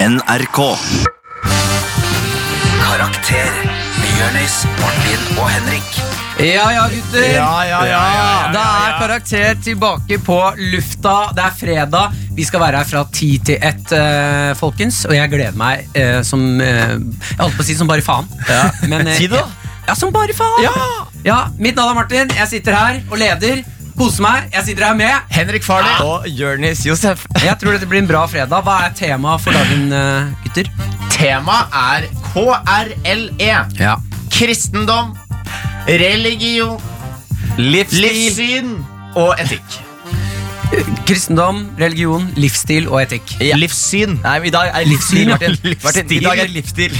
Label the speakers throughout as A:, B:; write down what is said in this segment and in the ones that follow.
A: NRK. Karakter med Jonis, Martin og Henrik.
B: Ja ja, gutter.
C: Ja, ja, ja, ja,
B: Da
C: ja,
B: er
C: ja.
B: Karakter tilbake på lufta. Det er fredag. Vi skal være her fra ti til ett, eh, folkens. Og jeg gleder meg eh, som eh, Jeg holdt på å si som bare faen. Men, eh,
C: Si det, da.
B: Ja, som bare faen.
C: Ja.
B: Ja, Mitt navn er Martin. Jeg sitter her og leder. Koser meg. Jeg sitter her med.
C: Henrik Farley og Jonis Josef.
B: Jeg tror dette blir en bra fredag. Hva er temaet for dagen, eh, gutter?
D: Temaet er KRLE.
B: Ja.
D: E. Kristendom, religion,
C: Livsstil.
D: livssyn og etikk.
B: Kristendom, religion, livsstil og etikk.
D: Livssyn.
C: Nei, men I dag er det livsstil, Martin. Martin I
D: Livsstil.
C: dag er det livsstil.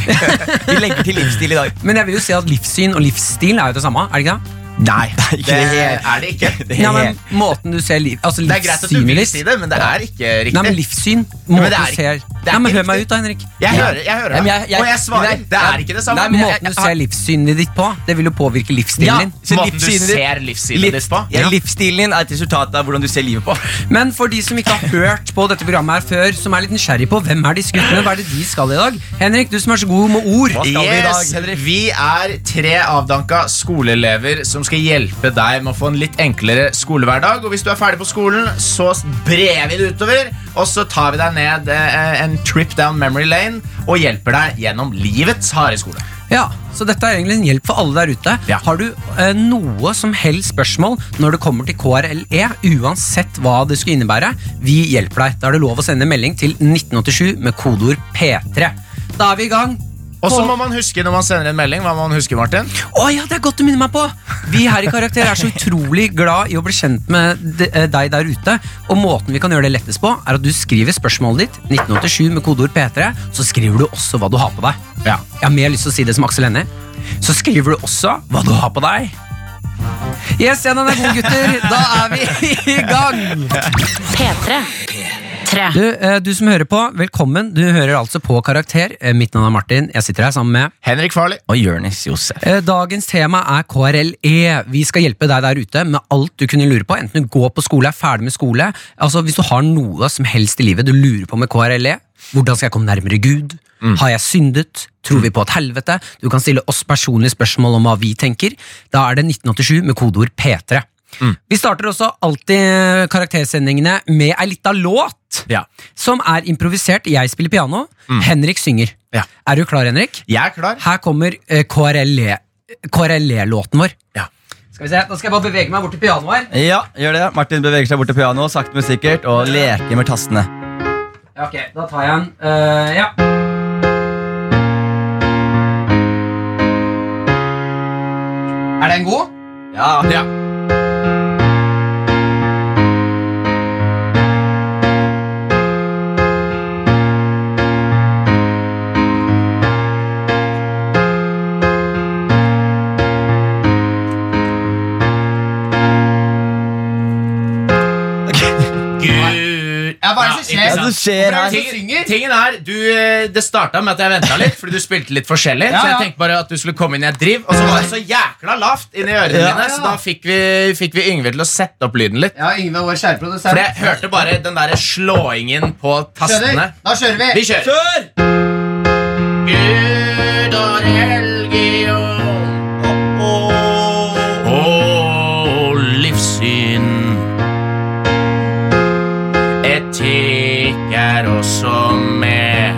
C: Vi legger til livsstil i dag.
B: Men jeg vil jo si at livssyn og livsstil er jo det samme. er det ikke det?
C: Nei,
D: Det er det ikke.
C: Det,
B: Ja, men måten du ser liv altså,
D: Det er greit at du vil
B: livssynet
D: si det, men det er ikke
B: Nei, men
D: riktig.
B: livssyn Måten
D: men det er
B: du
D: ikke-
B: ser
D: det er
B: Nei, men
D: ikke
B: hør meg
D: riktig.
B: ut da, Henrik
D: Jeg hører, jeg hører
C: Ja,
D: deg.
C: men jeg- jeg-
D: Og jeg svarer.
C: Nei,
D: Det
C: ja.
D: er ikke det samme.
C: Nei, men jeg-
B: Måten du ser livssynet ditt på Det vil jo påvirke livsstilen
C: Ja.
B: din
C: Så
D: Måten du
C: livssynet ditt-
D: ser livssynet ditt på.
C: ja, livsstilen din er et resultat av hvordan du ser livet på.
B: Men for de som ikke har hørt på dette programmet her før Som er litt nysgjerrig på Hvem er disse guttene? Hva er det de skal i dag? Henrik, du som er så god med ord
C: Hva skal vi i dag, Henrik?
D: vi er tre avdanka skoleelever som skal hjelpe deg med å få en litt enklere skolehverdag. Og hvis du er ferdig på skolen, så brer vi det utover, og så tar vi deg ned eh, en trip down memory lane og hjelper deg gjennom livets harde skole.
B: Ja, så dette er egentlig en hjelp for alle der ute
D: Ja.
B: Har du eh, noe som helst spørsmål Når det kommer til KRLE E, Uansett hva det skulle innebære Vi hjelper deg Da er det lov å sende en melding til 1987 Med kodord P3 Da er vi i gang
D: Og så
B: På-
D: må man huske når man sender en melding, hva må man huske, Martin?
B: Å ja, det er godt du minner meg på! Vi her i Karakter er så utrolig glad i å bli kjent med de- eh, deg der ute. Og måten vi kan gjøre det lettest på, er at du skriver spørsmålet ditt 1987 med kodeord P3. Så skriver du også hva du har på deg.
D: Ja.
B: Jeg har mer lyst til å si det som Aksel Hennie. Så skriver du også hva du har på deg. Yes, ja, den er god, gutter. Da er vi i gang.
E: P3.
B: Du, eh, du som hører på, velkommen. Du hører altså på Karakter. Eh, Mitt navn er Martin. Jeg sitter her sammen med
D: Henrik Farley.
C: Og Jonis Josef.
B: Eh, Dagens tema er KRLE. E. Vi skal hjelpe deg der ute med alt du kunne lure på. Enten du går på skole, er ferdig med skole. Altså Hvis du har noe som helst i livet du lurer på med KRLE. E, Hvordan skal jeg komme nærmere Gud?
D: Mm.
B: Har jeg syndet? Tror vi på et helvete? Du kan stille oss personlige spørsmål om hva vi tenker. Da er det 1987 med kodeord P3.
D: Mm.
B: Vi starter også alltid karaktersendingene med ei lita låt
D: Ja. Mm.
B: som er improvisert. Jeg spiller piano, Henrik synger.
D: Ja.
B: Er du klar, Henrik?
D: Jeg er klar.
B: Her kommer eh, KRLE KRLE-låten vår.
D: Ja.
B: Skal vi se, Nå skal jeg bare bevege meg bort til pianoet her.
C: Ja, gjør det. Martin beveger seg bort til pianoet sakte, men sikkert, og leker med tastene.
B: Ja, Ok, Da tar jeg en eh, Ja. Er den god?
C: Ja,
D: Ja. Gud ja, Hva er det som skjer?
C: Hva er det som skjer her?
D: Hvorfor er det som synger? Tingen er, du, eh, Det starta med at jeg venta litt, fordi du spilte litt forskjellig.
B: Ja,
D: Så
B: ja.
D: jeg tenkte bare at du skulle komme inn i et driv, og så var det så jækla lavt inni ørene
C: Ja.
D: dine, så da fikk vi, fikk vi Yngve til å sette opp lyden litt.
F: Ja, Yngve, vår kjære produsent.
D: For jeg hørte bare den derre slåingen på tastene.
F: Kjører. Da kjører vi.
D: Vi kjører.
C: Kjør!
D: Gud og religion og livssyn. Etikk er også med.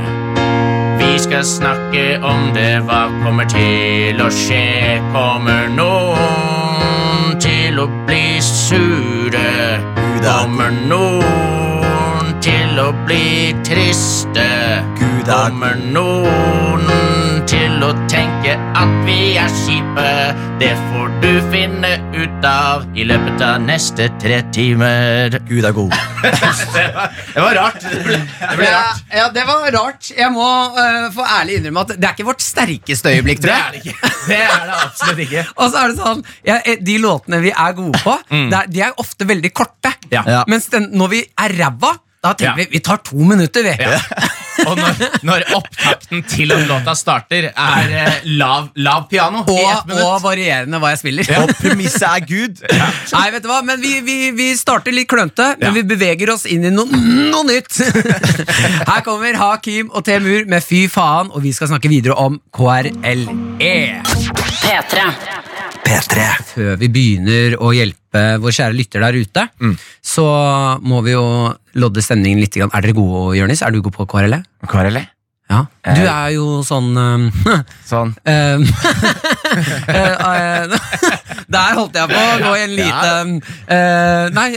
D: Vi skal snakke om det. Hva kommer til å skje? Kommer noen til å bli sure?
C: Guda.
D: Kommer noen til å bli triste?
C: Guda.
D: Kommer noen til å tenke at vi er kjipe? Det får du finne ut av i løpet av neste tre timer.
C: Gud er god.
D: Det var rart. Det ble, det ble
F: Ja,
D: rart.
F: ja, det var rart. Jeg må eh, få ærlig innrømme at det er ikke vårt sterkeste øyeblikk,
D: Det
F: tror
D: er
F: jeg.
D: det ikke. Det er det absolutt ikke.
B: Og så er det sånn ja, eh, De låtene vi er gode på, det er, de er ofte veldig korte.
D: Mm. Ja.
C: Ja.
B: Mens den, når vi er ræva, da tenker
D: Ja.
B: vi vi tar to minutter, vi.
D: Ja. Og når, når opptakten til at låta starter, er eh, lav, lav piano i ett
B: Og, og
D: minutt
B: varierende hva jeg spiller.
C: Og premisset er Gud.
B: Nei, vet du hva, men vi, vi, vi starter litt klønete, men
D: Ja.
B: vi beveger oss inn i noe, noe nytt. Her kommer Hakim og Temur med Fy faen, og vi skal snakke videre om KRLE.
E: P3.
A: P3
B: før vi begynner å hjelpe vår kjære lytter der ute, så må vi jo lodde stemningen litt. grann. Er dere gode, Jørnis? Er du god på KRLE?
C: Karele.
B: Ja. Du er jo sånn um,
C: Sånn.
B: um, eh, Der holdt jeg på å gå i en lite um, eh, Nei,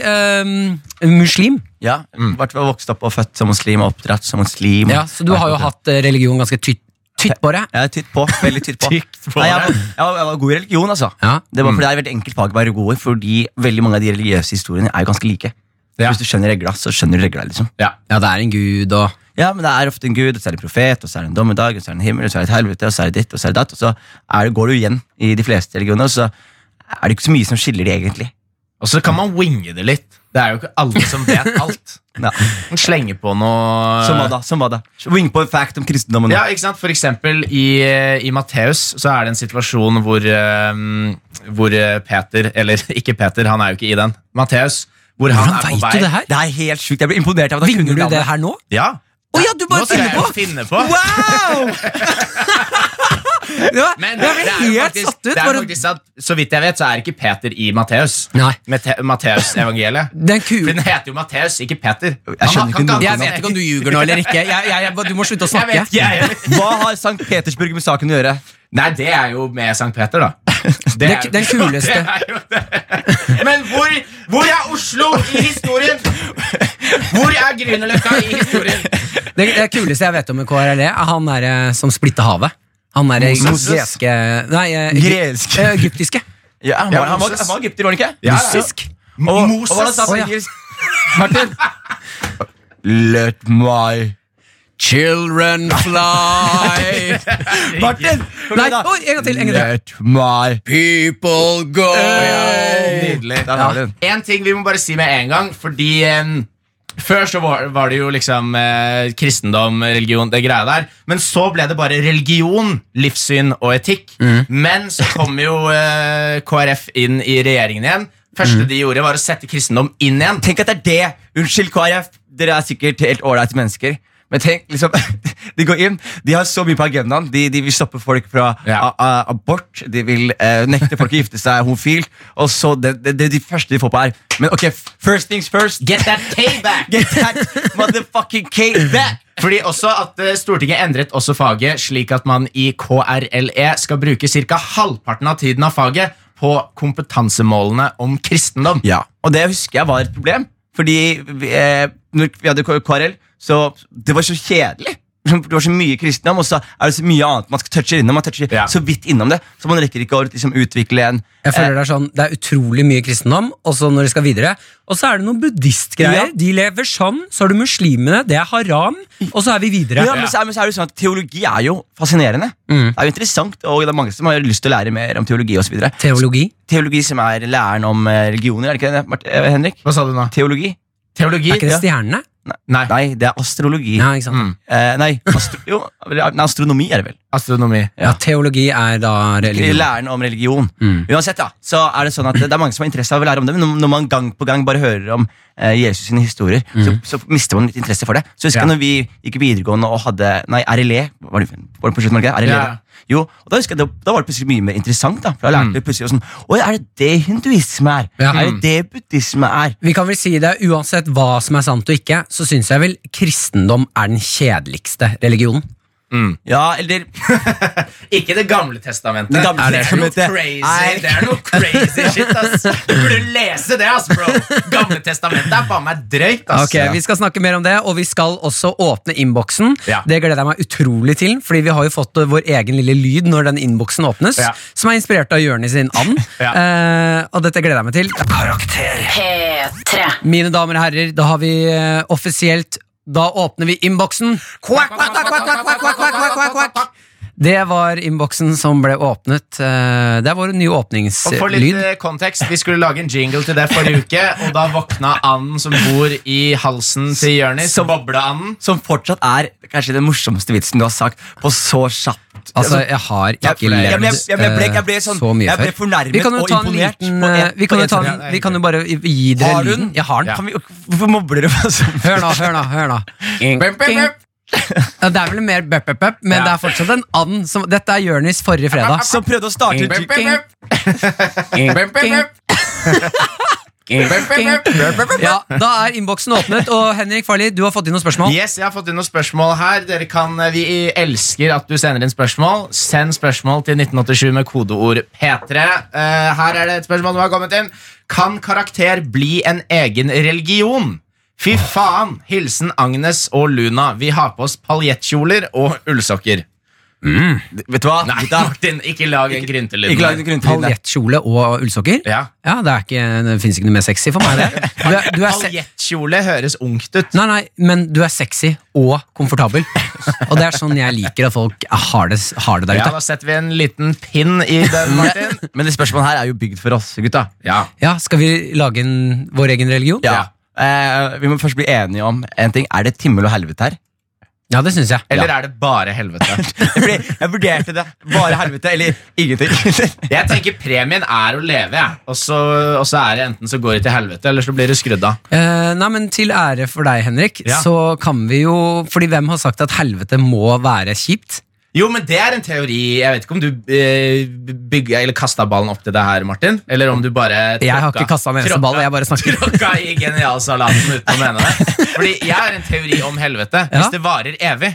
B: um, muslim.
C: Ja, i hvert fall vokst opp og født som muslim og oppdratt som muslim.
B: Ja, så du har jo hatt eh, religion ganske tytt, tytt på deg.
C: Jeg er tytt på. Veldig tytt på.
D: Tykt på
C: Nei, jeg,
D: det.
C: var- jeg, var- jeg var god i religion, altså.
B: Ja.
C: Det var fordi det er veldig enkelt fag å være god i, fordi veldig mange av de religiøse historiene er jo ganske like.
D: Ja.
C: Hvis du skjønner regla, så skjønner du regla, liksom.
D: ja.
B: ja, det er en gud og
C: Ja, men det er ofte en gud, og så er det en profet, og så er det en dommedag, og så er det en himmel, og så er det et helvete, og så er det ditt, og så er det datt, og så er det, går du igjen i de fleste religioner, og så er det ikke så mye som skiller de egentlig.
D: Og så kan man winge det litt. Det er jo ikke alle som vet alt.
C: Ja.
D: Man slenger på noe
C: Som hva da? Som hva da? Wing på en fact om kristendommen. nå.
D: Ja, ikke sant? For eksempel i, eh, i Matteus så er det en situasjon hvor, eh, hvor eh, Peter Eller ikke Peter, han er jo ikke i den. Matteus, hvor han
B: Hvordan
D: er på
B: veit
D: vei
B: du det her?
C: Det er helt sjukt. Jeg ble imponert av at jeg
B: Vinner
C: kunne
B: du det
C: navnet.
B: her nå?
D: Ja.
B: Å ja, du bare
D: Nå skal
B: finner
D: jeg
B: på!
D: finne på.
B: Wow! det var,
D: Men
B: det var
D: er jo
B: helt
D: faktisk-
B: satt ut.
D: det er
B: Bare,
D: faktisk at, så vidt jeg vet, så er ikke Peter i Matteus.
B: Nei.
D: Mate- Matteus-evangeliet.
B: den
D: For Den
B: kule
D: heter jo Matteus, ikke Peter.
C: skjønner ikke noe
B: Jeg vet ikke om du ljuger nå eller ikke. Jeg, jeg, jeg, du må slutte å
D: Jeg
B: snakke.
D: vet ikke, jeg heller.
C: Hva har St. Petersburg med saken å gjøre?
D: Nei, det er jo med Sankt Peter, da.
B: Den-
D: er jo-
B: den kuleste.
D: Det er jo det. Men hvor, hvor er Oslo i historien? Hvor er Grünerløkka i historien?
B: Det, det kuleste jeg vet om med KRLE, er han der, eh, som splitter havet. Han derre
C: Moses.
B: greske Nei, eh,
C: Gresk.
B: eh, egyptiske.
C: Ja, han,
D: Ja,
C: var, han, var,
D: Moses.
C: han var egypter, var han ikke?
D: Ja, ja.
B: Russisk.
C: Og,
D: Moses.
C: Og hva sa han
B: Å, ja.
C: på engelsk? Martin? Let my
B: Children fly.
C: Martin! Kom
B: Nei,
C: igjen, da.
B: oi, en gang til. En gang til.
C: Let my
B: People go. Eh,
D: Nydelig.
C: Der har du den.
D: En ting vi må bare si med en gang, fordi em, før så var, var det jo liksom eh, kristendom, religion, det greia der. Men så ble det bare religion, livssyn og etikk.
B: Mm.
D: Men så kom jo eh, KrF inn i regjeringen igjen.
B: Mm.
D: første de gjorde, var å sette kristendom inn igjen.
C: Tenk at det er det! Unnskyld, KrF. Dere er sikkert helt ålreite mennesker. Men tenk, liksom, de går inn, de har så mye på agendaen. De, de vil stoppe folk fra
D: Ja.
C: a, a, abort. De vil eh, nekte folk å gifte seg homofilt. Og så det, det, det er de første de får på, er Men ok, first things first.
D: Get that K back!
C: Get that motherfucking cake back!
D: Fordi også at eh, Stortinget endret også faget slik at man i KRLE E skal bruke ca. halvparten av tiden av faget på kompetansemålene om kristendom.
C: Ja, og det husker jeg var et problem. Fordi vi, eh, når vi hadde K- KRL, så det var så kjedelig. Det var så mye kristendom, og så er det så mye annet man skal touche innom. Man toucher
D: Ja.
C: så vidt innom det, så man rekker ikke å liksom, utvikle en eh,
B: Jeg føler Det er sånn, det er utrolig mye kristendom, og så når de skal videre. Og så er det noen buddhistgreier.
C: Ja.
B: De lever sånn. Så har du muslimene, det er haram. Og så er vi videre.
C: ja, men, så, er- men så er det jo sånn at Teologi er jo fascinerende. Det er jo interessant, og det er mange som har lyst til å lære mer om teologi. Og så videre.
B: Teologi.
C: teologi som er læren om eh, religioner, er det ikke det, Mart eh, Henrik?
D: Hva sa du nå?
C: Teologi?
D: Teologi?
B: Er ikke det stjernene?
D: Nei.
C: Nei, det er astrologi.
B: Ja, ikke sant?
D: Mm.
C: Eh, nei, astro jo, nei, astronomi er det vel.
D: Astronomi.
B: Ja, teologi er da religion.
C: Læren om religion.
B: Mm.
C: Uansett, da, så er det sånn at det er mange som har interesse av å lære om det, men når- når man gang på gang bare hører om eh, Jesus sine historier, så, så mister man litt interesse for det. Så husker jeg
D: Mm. Ja.
C: når vi gikk i videregående og hadde Nei, RLE. Var det, var det på slutten, var det ikke? RLE,
D: Ja.
C: E,
D: Mm.
C: da? Jo, og da husker jeg, da, da var det plutselig mye mer interessant. da, for da lærte vi plutselig sånn, Oi, er det det hinduisme er?
B: Ja.
C: Er det det buddhisme er?
B: Vi kan vel si det, Uansett hva som er sant og ikke, så syns jeg vel kristendom er den kjedeligste religionen.
C: Ja, eller
D: Ikke Det gamle testamentet.
C: Det Gamle
D: er det, noe
C: Testamentet.
D: crazy,
C: Nei.
D: det er noe crazy shit, ass. Du burde lese det, ass, bro. Gamle testamentet er faen meg drøyt, ass.
B: Ok, Vi skal snakke mer om det, og vi skal også åpne innboksen.
D: Ja.
B: Det gleder jeg meg utrolig til, Fordi vi har jo fått eh, vår egen lille lyd når den innboksen åpnes,
D: Ja.
B: som er inspirert av Jonis sin and.
D: Ja.
B: Eh, og dette gleder jeg meg til.
A: Karakter
E: P3.
B: Mine damer og herrer, da har vi eh, offisielt Da åpner vi innboksen. Kvakk, kvakk, kvakk, kvakk, kvakk, kvakk, kvakk, kvakk, kvakk, kvakk, kvakk. Det var innboksen som ble åpnet. eh, Det er vår nye
D: Og for litt
B: åpningslyd.
D: eh, kontekst, Vi skulle lage en jingle til det forrige uke, og da våkna anden som bor i halsen til Jonis.
C: Som-
D: Bobleanden.
C: Som fortsatt er kanskje den morsomste vitsen du har sagt på så kjapt.
B: Altså, jeg har
C: Jeg-
B: ikke
C: jeg- jeg-
B: levd
C: jeg- jeg ble- jeg ble
B: eh,
C: sånn-
B: så mye
C: jeg ble
B: før.
C: fornærmet
B: Vi kan jo
C: og
B: ta en
C: imponert
B: liten,
C: på en-
B: eh, Vi kan
C: på
B: jo
C: en
B: ta
C: sånn-
B: en- vi kan jo bare gi
C: Har
B: dere
C: du den?
B: lyden. Jeg har den.
C: Kan vi, hvorfor mobler du meg sånn?
B: Hør nå, hør nå. hør nå
D: Bip, bip, bip.
B: Ja, Det er vel mer bøpp, bøpp, bøpp, men
D: Ja.
B: det er fortsatt en and. Som, dette er Jonis forrige fredag.
C: Som prøvde å starte
D: Bip, bip,
C: utviklingen.
D: bip. Bip, bip, bip. Bip, bip, bip. Bip, bip, bip.
B: Ja, Da er innboksen åpnet, og Henrik Farli, du har fått inn noen spørsmål.
D: Yes, jeg har fått inn noen spørsmål her. Dere kan, eh, vi elsker at du sender inn spørsmål. Send spørsmål til 1987 med kodeord P3. Eh, her er det et spørsmål som har kommet inn. Kan karakter bli en egen religion? Fy faen! Hilsen Agnes og Luna. Vi har på oss paljettkjoler og ullsokker.
C: Vet du hva?
D: Nei,
C: Gutta,
D: Martin, ikke lag en gryntelyd.
C: Ikke lag den grunntriden der.
B: Paljettkjole og ullsokker?
D: Ja.
B: Ja, Det, er ikke, det finnes ikke noe mer sexy for meg. Det. Du er, du er se
D: Paljettkjole høres ungt ut.
B: nei, nei, men du er sexy og komfortabel. Og det er sånn jeg liker at folk har det, har det der
D: Ja,
B: ute.
D: Da setter vi en liten pinn i den, Martin.
C: Men det spørsmålet her er jo bygd for oss, gutta.
D: Ja,
B: Ja, Skal vi lage en, vår egen religion?
C: Ja. Eh, vi må først bli enige om en ting. Er det et himmel og helvete her?
B: Ja, det syns jeg.
D: Eller er det bare helvete?
C: Jeg, ble, jeg vurderte det. Bare helvete eller ingenting.
D: Jeg tenker premien er å leve, jeg. Og så, og så er det enten så går det til helvete, eller så blir det skrudd av.
B: Eh, nei, men Til ære for deg, Henrik,
D: Ja.
B: så kan vi jo Fordi hvem har sagt at helvete må være kjipt?
D: Jo, men det er en teori. Jeg vet ikke om du eh, bygga eller kasta ballen opp til det her, Martin. Eller om du bare
B: Jeg har
D: tråkka-
B: ikke kastet en eneste
D: tråkka-
B: ball, jeg bare snakker.
D: Tråkka i genialsalaten uten å mene det. Fordi jeg har en teori om helvete.
B: Ja. Mhm.
D: Hvis det varer evig.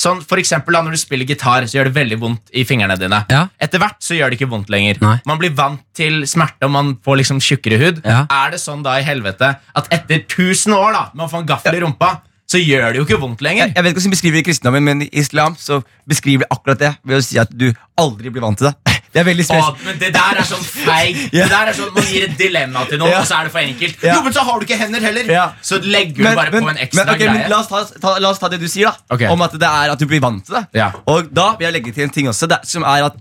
D: Sånn, for eksempel, da, Når du spiller gitar, så gjør det veldig vondt i fingrene dine.
B: Ja.
D: Etter hvert så gjør det ikke vondt lenger.
B: Nei.
D: Man blir vant til smerte, og man får liksom tjukkere hud.
B: Ja.
D: Er det sånn da i helvete at etter 1000 år da, med å få en gaffel i rumpa, så gjør det jo ikke vondt lenger?
C: Jeg vet ikke hvordan de beskriver det i kristendommen, men i islam så beskriver de akkurat det ved å si at du aldri blir vant til det. Det er veldig
D: Å,
C: spesielt.
D: men det der er sånn feig. Det
C: Ja.
D: der er sånn Man gir et dilemma til noen,
C: Ja.
D: og så er det for enkelt.
C: Ja.
D: Jo, men så har du ikke hender heller!
C: Ja.
D: Så legger du bare på en ekstra
C: men, ok, men
D: greie.
C: la, oss ta, ta, la oss ta det du sier, da.
D: Ok.
C: Om at det er at du blir vant til det.
D: Ja.
C: Og da vil jeg legge til en ting også, det, som er at,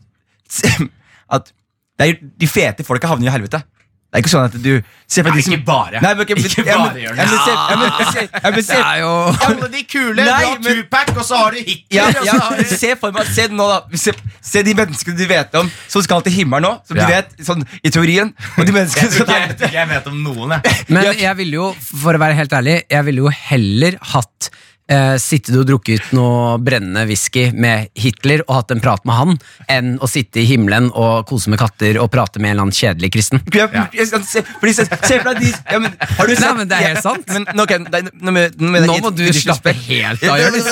C: at det er, de fete folka havner jo i helvete. Det er ikke sånn at du Se på
D: Nei,
C: de som
D: ikke bare.
C: Nei, men, ok, men-
D: Ikke
C: ja, men-
D: bare gjør det.
C: ja, men se- ja, men- se- ja, men se-
D: Alle de kule.
C: Nei,
D: du har
C: men-
D: Tupac, og så har du Hitler.
C: Ja,
D: og
C: ja,
D: så har
C: men
D: du...
C: se for meg, se nå da Se, se de menneskene du vet om Som skal til himmelen nå Som
D: Ja.
C: du vet, sånn i teorien Og de menneskene
D: Jeg
C: som
D: tror ikke
C: skal
D: jeg,
C: til
D: tror ikke jeg vet om noen, jeg.
B: Men jeg ville jo, for å være helt ærlig, jeg ville jo heller hatt eh, Sittet og drukket noe brennende whisky med Hitler og hatt en prat med han, enn å sitte i himmelen og kose med katter og prate med en eller annen kjedelig kristen.
C: Jeg- jeg- jeg- se- fordi se, se for deg de ja, men, har du
B: Nei,
C: sett-
B: men det er helt
C: Ja,
B: sant.
C: men, nå, ok, nei, nå, men- nå, mener jeg
B: Nå
C: i-
B: må du
C: i
B: slappe
C: disrespekt.
B: helt av, Jonis.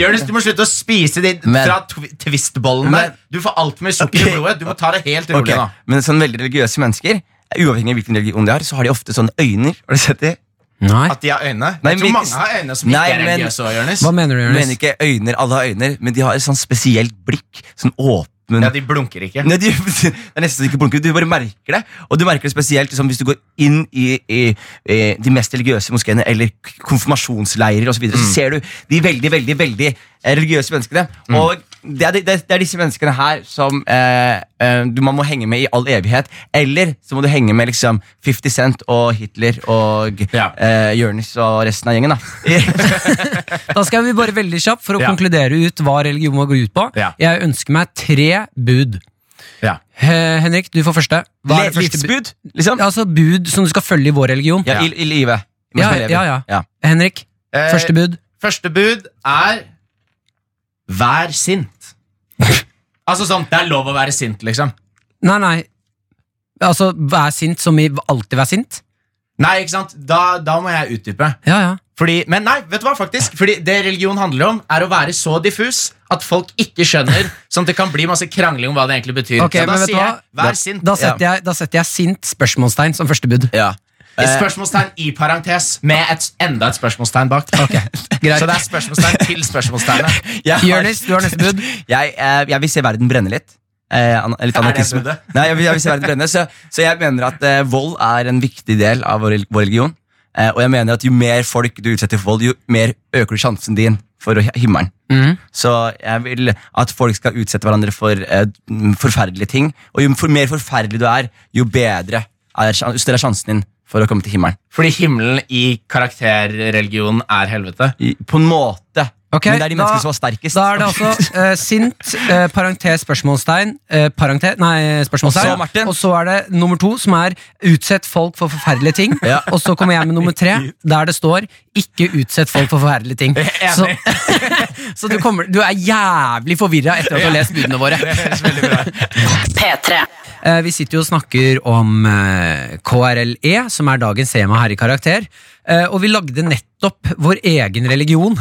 D: Jonis, du må slutte å spise de
C: Men-
D: fra tw Twist-bollen
C: Men-
D: der. Du får altfor mye sukker
C: Ok.
D: i blodet. Du må ta det helt
C: Ok,
D: rolig nå.
C: Men sånn veldig religiøse mennesker Uavhengig av hvilken religion de har Så har de ofte sånne øyner Har du sett det?
B: Nei,
D: At de har øyne.
C: Nei,
D: jeg
C: men-
D: tror mange har øyne som ikke
C: Nei,
D: er
C: men-
D: religiøse. også, Jonis.
B: hva mener du,
C: Jeg mener
B: Jonis?
C: ikke øyner, alle har øyner Men de har et sånn spesielt blikk Sånn åpen
D: Ja, de blunker ikke.
C: Nei, de, det er nesten så de ikke blunker. Du bare merker det. Og du merker det spesielt liksom, hvis du går inn i, i, i de mest religiøse moskeene eller k- konfirmasjonsleirer osv. Så, videre,
B: Mm.
C: så ser du de veldig veldig, veldig eh, religiøse menneskene. Og det er, de- det, er- det er disse menneskene her som eh, eh, du, man må henge med i all evighet. Eller så må du henge med liksom 50 Cent og Hitler og
D: Ja.
C: eh, Jonis og resten av gjengen. da
B: Da skal vi bare veldig kjapt, for å
D: Ja.
B: konkludere ut hva religion må gå ut på.
D: Ja.
B: Jeg ønsker meg tre bud.
D: Ja.
B: Eh, Henrik, du får første. Hva er det første bud?
C: Livsbud, liksom. Ja,
B: Altså bud som du skal følge i vår religion.
C: i, i livet. mens
B: Ja,
C: man lever.
B: ja, ja.
C: ja.
B: Henrik,
D: Eh,
B: første bud.
D: Første bud er Vær sint Altså sånn, det er lov å være sint liksom
B: Nei, nei. Altså, vær sint som i alltid vær sint?
D: Nei, ikke sant? Da, da må jeg utdype
B: Ja, ja.
D: fordi, Men nei, vet du hva faktisk? Fordi det religion handler om er å være så diffus At folk ikke skjønner Sånn at det kan bli masse krangling om hva det egentlig betyr
B: Ok,
D: Så da
B: men vet du
D: sier jeg,
B: hva?
D: vær sint
B: Da setter, jeg, da setter jeg sint spørsmålstegn som første bud.
C: ja.
D: Et spørsmålstegn i parentes Med et, enda et spørsmålstegn bak
B: greit.
D: Så det er spørsmålstegn til spørsmålstegnet
C: Jeg har-
B: Jonis, du har neste bud.
C: Jeg, eh, jeg vil se verden brenne litt. Eh, an litt
D: Er det
C: anarkisme.
D: budet?
C: Nei, jeg vil, jeg vil se verden brenne Så, så jeg mener at eh, vold er en viktig del av vår, vår religion. Eh, og jeg mener at jo mer folk du utsetter for vold, jo mer øker du sjansen din for å hi- himmelen.
B: Mhm.
C: Så jeg vil at folk skal utsette hverandre for eh, m, forferdelige ting. Og jo for mer forferdelig du er, jo bedre er, sjan- jo større er sjansen din for å komme til himmelen.
D: Fordi himmelen i karakterreligionen er helvete.
C: I, på en måte.
B: Ok,
C: Men det er de
B: da-
C: menneskene som var sterkest.
B: Da er det altså eh, sint, eh, parentes, spørsmålstegn, eh, parentes, nei, spørsmålstegn.
C: Og så, Martin.
B: Og så er det nummer to, som er utsett folk for forferdelige ting.
C: Ja.
B: Og så kommer jeg med nummer tre, der det står ikke utsett folk for forferdelige ting. Så, så du, kommer, du er jævlig forvirra etter at du har lest budene våre.
E: P3.
B: Eh, Vi sitter jo og snakker om eh, KRLE, som er dagens tema her i Karakter. Eh, Og vi lagde nettopp vår egen religion.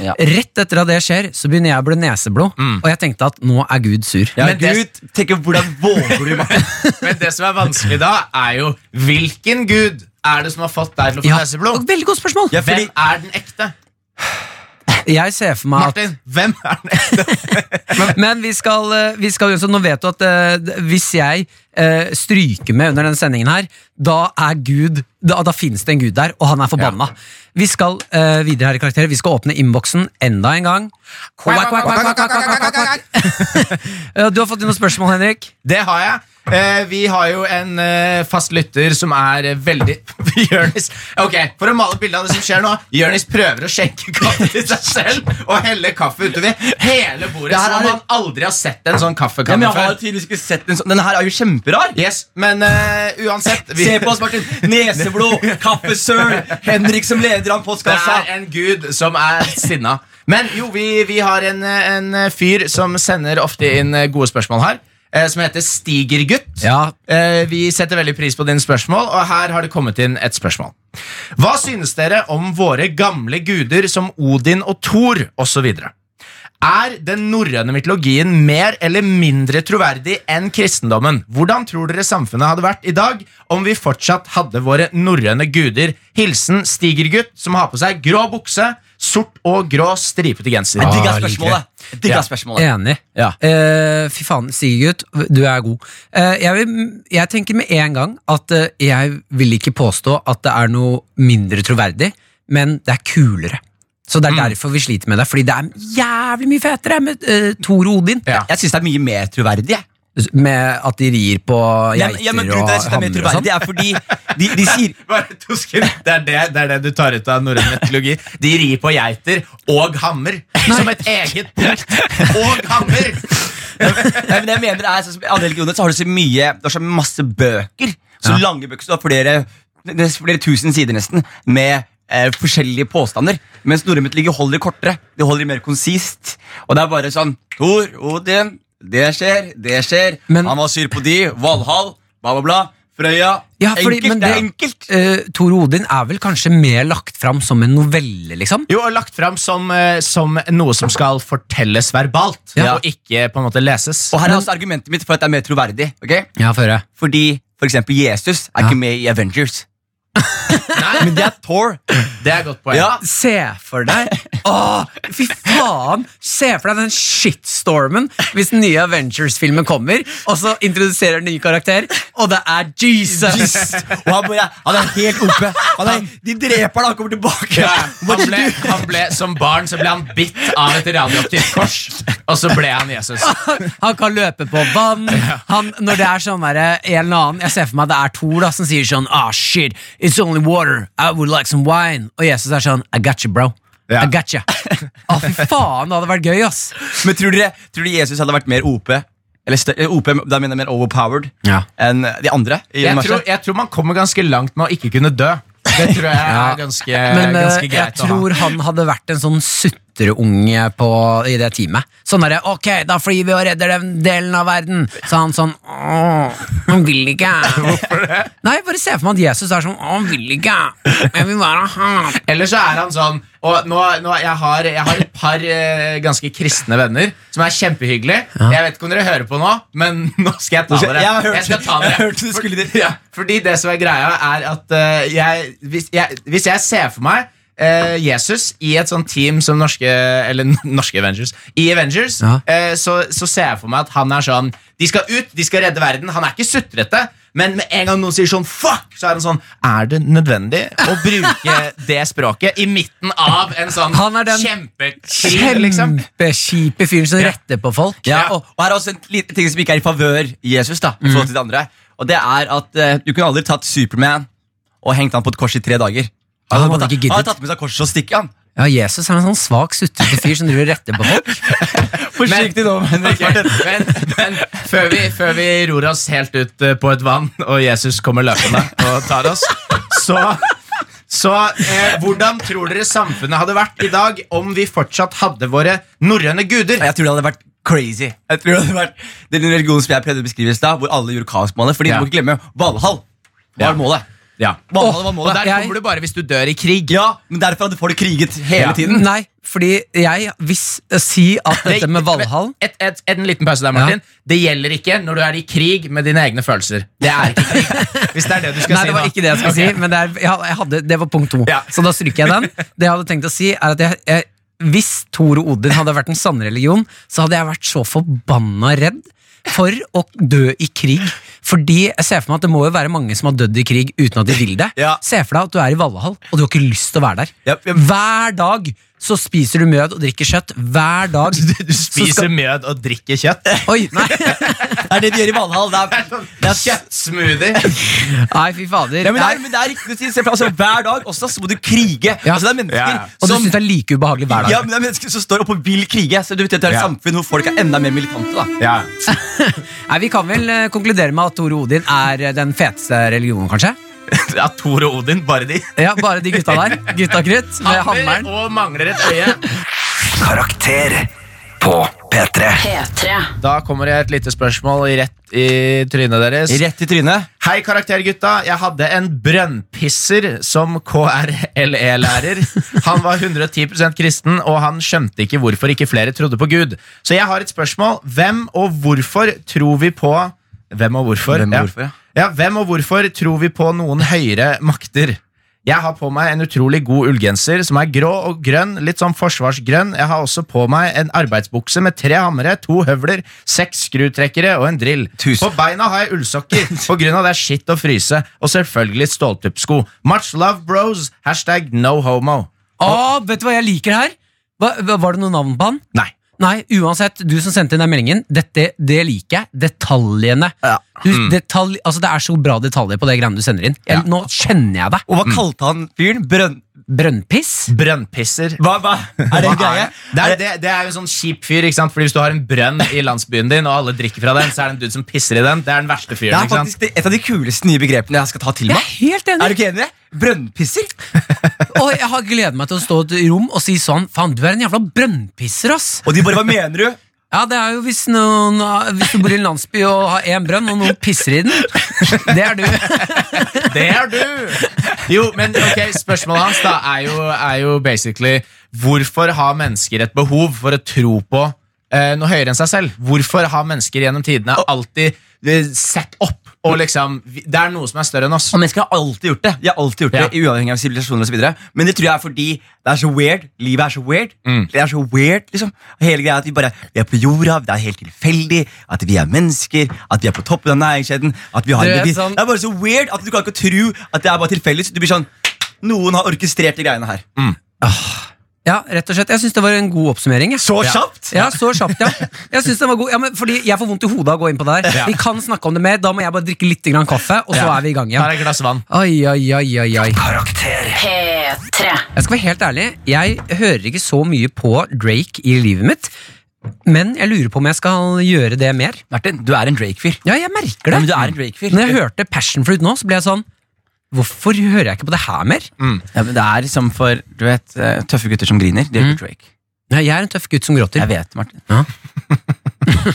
C: ja.
B: Rett etter at det skjer, så begynner jeg å bli neseblod, og jeg tenkte at nå er Gud sur.
C: ja,
D: Men det-
C: Gud, tenk hvordan våger du, Martin?
D: Men det som er vanskelig da, er jo hvilken gud er det som har fått deg til å få
B: Ja,
D: neseblod?
B: Veldig godt spørsmål!
C: Ja, fordi,
D: Hvem er den ekte?
B: Jeg ser for meg at
D: Martin, hvem er den ekte?
B: Men vi skal, eh, vi skal så Nå vet du at eh, hvis jeg eh, stryker med under denne sendingen her, da er Gud Da, da finnes det en Gud der, og han er forbanna. Vi skal eh, videre her i Karakter. Vi skal åpne innboksen enda en gang. Quack, quack, quack, quack, quack, quack, quack, quack. Eh, Du har fått inn noen spørsmål, Henrik.
D: Det har jeg. Eh, vi har jo en eh, fast lytter som er eh, veldig Jonis Ok, For å male et bilde av det som skjer nå Jonis prøver å skjenke kaffe til seg selv og helle kaffe utover hele bordet.
C: Det
D: Som
C: her
D: om
C: er-
D: han aldri har sett en sånn
C: ja, men
D: kaffekanne
C: jeg har
D: før.
C: tydeligvis ikke sett en sånn Denne her er jo kjemperar!
D: Yes, Men eh, uansett vi-
C: Se på oss, Martin! Neseblod, kaffesøl, Henrik som leder av
D: Det
C: postkassa.
D: er en gud som er sinna. Men jo, vi, vi har en, eh, en fyr som sender ofte inn eh, gode spørsmål her. eh, Som heter Stigergutt.
B: Ja.
D: Eh, Vi setter veldig pris på dine spørsmål, og her har det kommet inn et spørsmål. Hva synes dere om våre gamle guder som Odin og Thor osv.? Er den norrøne mytologien mer eller mindre troverdig enn kristendommen? Hvordan tror dere samfunnet hadde vært i dag om vi fortsatt hadde våre norrøne guder? Hilsen Stigergutt, som har på seg grå bukse, sort og grå stripete genser.
C: Jeg digga
B: Ah,
C: spørsmålet. Jeg digga
D: Ja.
C: spørsmålet.
B: Enig.
C: Ja.
B: Eh, fy faen, Sigurd, du er god. Eh, jeg, vil, jeg tenker med en gang at eh, jeg vil ikke påstå at det er noe mindre troverdig, men det er kulere. Så det er
C: Mm.
B: derfor vi sliter med det, fordi det er jævlig mye fetere med uh, Thor og Odin.
D: Ja.
C: Jeg syns det er mye mer troverdig. jeg.
B: Med at de rir på
C: Ja,
B: geiter
C: men- ja, men grunnen til
B: og
C: at jeg synes det er mer
B: hanner og sånn.
C: troverdig, er fordi de, de sier
D: Bare to sekunder. Det er det, det er det du tar ut av norrøn mytologi. De rir på geiter og hammer som et eget punkt. Og hammer!
C: Nei, men jeg mener det er sånn som I andre religioner så har du så mye Du har så masse bøker. Så lange bøker. Så du har flere, det er flere tusen sider nesten med eh, forskjellige påstander. Mens norrøn mytologi holder det kortere. Det holder det mer konsist. Og det er bare sånn Thor, Odin, det skjer, det skjer.
B: Men-
C: Han var sur på de. Valhall, bla, bla, bla. Frøya.
B: Ja, fordi-
C: enkelt,
B: men
C: det, er
B: det-
C: enkelt.
B: Eh, Thor og Odin er vel kanskje mer lagt fram som en novelle, liksom?
D: Jo, og lagt fram som, eh, som noe som skal fortelles verbalt,
C: Ja.
D: og ikke på en måte leses.
C: Og her er også argumentet mitt for at det er mer troverdig. ok?
B: Ja, for det.
C: Fordi for eksempel Jesus er
B: Ja.
C: ikke med i Avengers. Men det er Thor.
D: Det er et godt poeng.
C: Ja.
B: Se for deg Åh, fy faen Se for deg den shitstormen Hvis den nye Avengers-filmen kommer Og så introduserer en ny karakter Og det er Jesus
C: Jesus. Og han, bare, han er helt oppe. Han er, de dreper han, han kommer tilbake.
D: Ja,
C: Hva
D: han,
C: er det
D: ble,
C: du-
D: han ble, Som barn så ble han bitt av et radioaktivt kors, og så ble han Jesus.
B: Han kan løpe på vann han, Når det er sånn der En eller annen Jeg ser for meg det er Thor da Som sier sånn Ah shit, it's only water I would like some wine Og Jesus er sånn I got you bro
D: Ja.
B: I got you Åh, fy faen Det hadde vært gøy ass
C: Men tror dere, tror dere Jesus hadde vært mer OP? Eller stø- eh, OP, da mener jeg mer overpowered
B: Ja.
C: enn de andre? i
D: Jeg
C: universet?
D: tror, jeg tror man kommer ganske langt med å ikke kunne dø. Det tror jeg er ganske,
B: Men eh,
D: ganske
B: jeg
D: greit å ha.
B: tror han hadde vært en sånn sutreunge på, i det teamet. Sånn derre Ok, da flyr vi og redder den delen av verden. Så han sånn Åh, han vil ikke. Hvorfor det? Nei, bare se for meg at Jesus er sånn Åh, han vil ikke. Jeg vil være han.
D: Eller så er han sånn Og nå, nå jeg, har, jeg har et par eh, ganske kristne venner som er kjempehyggelige. Jeg vet ikke om dere hører på nå, men nå skal jeg ta
C: Nå skal-
D: dere.
C: jeg hørte-
D: skal ta
C: jeg hørte du
D: For-
C: skulle dit.
D: ja, Fordi det som er greia, er at eh, jeg, hvis, jeg, hvis jeg ser for meg eh, eh, Jesus i et sånt team som norske Eller norske Avengers. I Avengers
B: Ja.
D: eh, så, så ser jeg for meg at han er sånn De skal ut, de skal redde verden. Han er ikke sutrete. Men med en gang noen sier sånn fuck, så er han sånn Er det nødvendig å bruke det språket i midten av en sånn
B: Han er den
D: kjempekrig, liksom?
B: Kjempeskipe fyren som retter på folk.
C: Ja, og, og her er også en liten ting som ikke er i favør
B: Mm.
C: Jesus. da i forhold til det andre Og det er at eh, du kunne aldri tatt Superman og hengt han på et kors i tre dager.
B: hadde
C: bare
B: man
C: tatt-
B: ikke giddet.
C: han hadde tatt med seg korset og stikket han.
B: Ja, Jesus er en sånn svak, sutrete fyr som driver og retter på folk.
C: Forsiktig nå, men
D: Ok, Men, men før, vi, før vi ror oss helt ut eh, på et vann, og Jesus kommer løpende og tar oss, så, så eh, hvordan tror dere samfunnet hadde vært i dag om vi fortsatt hadde våre norrøne guder?
C: Jeg tror det hadde vært crazy. Jeg tror Det hadde vært den religionen som jeg prøvde å beskrive i stad, hvor alle gjorde kaos på målet. Fordi
D: Ja.
C: du må ikke glemme Valhall.
D: Ja.
C: Var målet.
D: Ja.
C: Valhall var
D: Og
C: målet.
D: der
B: jeg-
D: kommer du bare hvis du dør i krig.
C: Ja, men derfor hadde folk kriget hele
D: Ja.
C: tiden.
B: Nei, fordi jeg hvis Si at dette med Valhall
D: et, et, et, En liten pause der, Martin. Det gjelder ikke når du er i krig med dine egne følelser. Det er ikke krig. Hvis det er det du skal
B: Nei,
D: si
B: det var
D: nå.
B: ikke det jeg skulle
D: Ok.
B: si, men det, er, jeg, jeg hadde, det var punkt to.
D: Ja.
B: Så da stryker jeg den. Det jeg hadde tenkt å si, er at jeg, jeg, hvis Thor og Odin hadde vært en sann religion, så hadde jeg vært så forbanna redd for å dø i krig. Fordi jeg ser for meg at det må jo være mange som har dødd i krig uten at de vil det.
C: Ja.
B: Se for deg at du er i Valhall, og du har ikke lyst til å være der.
C: Japp, japp.
B: Hver dag så spiser du mjød og drikker kjøtt. Hver dag
D: Du spiser mjød og drikker kjøtt.
B: Oi, nei,
C: Det er det de gjør i Valhall. Det er,
D: sånn.
C: det er
D: Kjøttsmoothie.
B: nei, fy fader.
C: Ja, men, det er,
B: Nei.
C: men det er riktig å si. Se for deg, altså, hver dag også så må du krige.
B: Ja.
C: Altså, det er mennesker
D: Ja, ja.
B: Og du
C: som
B: syns det er like ubehagelig hver dag.
C: ja, men det er mennesker som står opp og vil krige. Så du vet at Det er et
D: Ja.
C: samfunn hvor folk er enda mer militante. da
D: Ja.
B: Nei, Vi kan vel eh, konkludere med at Thor og Odin er eh, den feteste religionen, kanskje?
D: Ja, Thor og Odin, bare de.
B: Ja, Bare de gutta der. Gutta krutt med hammeren.
D: og mangler et øye.
A: Karakter på P3.
E: P3.
D: Da kommer det et lite spørsmål i rett i trynet deres.
C: Rett i trynet.
D: Hei, karaktergutta. Jeg hadde en brønnpisser som KRLE-lærer. Han var 110 kristen, og han skjønte ikke hvorfor ikke flere trodde på Gud. Så jeg har et spørsmål. Hvem og hvorfor tror vi på Hvem og hvorfor?
C: Hvem og
D: ja.
C: hvorfor, ja.
D: ja, hvem og hvorfor tror vi på noen høyere makter? Jeg har på meg en utrolig god ullgenser som er grå og grønn, litt sånn forsvarsgrønn. Jeg har også på meg en arbeidsbukse med tre hammere, to høvler, seks skrutrekkere og en drill.
C: Tusen.
D: På beina har jeg ullsokker, på grunn av det er skitt å fryse, og selvfølgelig ståltuppsko. Much love, bros. Hashtag no homo.
B: Å, vet du hva jeg liker her? Hva, hva- var det noe navn på han?
D: Nei.
B: Nei, uansett, du som sendte inn den meldingen, dette, det liker jeg. Detaljene. Du,
C: Mm.
B: detalj, altså, det er så bra detaljer på det greiene du sender inn. Jeg, Nå kjenner jeg deg.
C: Og hva
D: Mm.
C: kalte han fyren? Brønn...
B: Brønnpiss?
D: Brønnpisser.
C: Hva, hva? Er det en
D: Hva
C: greie?
D: Det er, det, det er jo sånn kjip fyr, ikke sant? Fordi hvis du har en brønn i landsbyen din, og alle drikker fra den, så er det en dude som pisser i den. Det er den verste
C: Det
D: fyren,
C: er
D: ikke sant?
C: faktisk det- et av de kuleste nye begrepene jeg skal ta til
B: Jeg
C: meg.
B: er helt enig.
C: Er du ikke enig? i det? Brønnpisser?
B: Og jeg har gledet meg til å stå i et rom og si sånn Faen, du er en jævla brønnpisser, ass!
C: Og de bare Hva mener du?
B: Ja, det er jo hvis, noen, hvis du bor i en landsby og har én brønn, og noen pisser i den. Det er du.
D: Det er du! Jo, men ok, Spørsmålet hans da er jo, er jo basically hvorfor har mennesker et behov for å tro på eh, noe høyere enn seg selv? Hvorfor har mennesker gjennom tidene alltid eh, sett opp? Og liksom, vi- Det er noe som er større enn oss.
C: Og mennesker har alltid gjort det. De har alltid gjort det,
D: Ja.
C: Uavhengig av sivilisasjoner og så videre Men det tror jeg er fordi det er så weird. Livet er så weird. Det er så weird, liksom. Og Hele greia at vi bare Vi er på jorda, det er helt tilfeldig at vi er mennesker, at vi er på toppen av næringskjeden At vi har
B: Du
C: en
B: vet
C: bevis.
B: sånn-
C: Det er bare så weird at du kan ikke tro at det er bare tilfeldig. Så Du blir sånn Noen har orkestrert de greiene her.
B: Ja, rett og slett. Jeg syns det var en god oppsummering. jeg.
C: Så
B: ja.
C: kjapt!
B: Ja, så kjapt, ja. Jeg synes den var god ja, men Fordi jeg får vondt i hodet av å gå inn på det der. Vi kan snakke om det mer. Da må jeg bare drikke litt grann kaffe, og så
D: Ja.
B: er vi i gang
D: Her
B: igjen.
D: er et glass vann.
B: Oi, oi, oi, oi, oi.
A: Karakter.
E: P3.
B: Jeg skal være helt ærlig, jeg hører ikke så mye på Drake i livet mitt. Men jeg lurer på om jeg skal gjøre det mer.
C: Martin, du er en Drake-fyr.
B: Ja, jeg merker det.
C: Ja, men du er en Drake-fyr.
B: Når jeg hørte Passion Fruit nå, så ble jeg sånn Hvorfor hører jeg ikke på det her mer?
C: Ja, men det er som for du vet, eh, tøffe gutter som griner. De er ikke Drake.
B: Nei, jeg er en tøff gutt som gråter.
C: Jeg vet, Martin.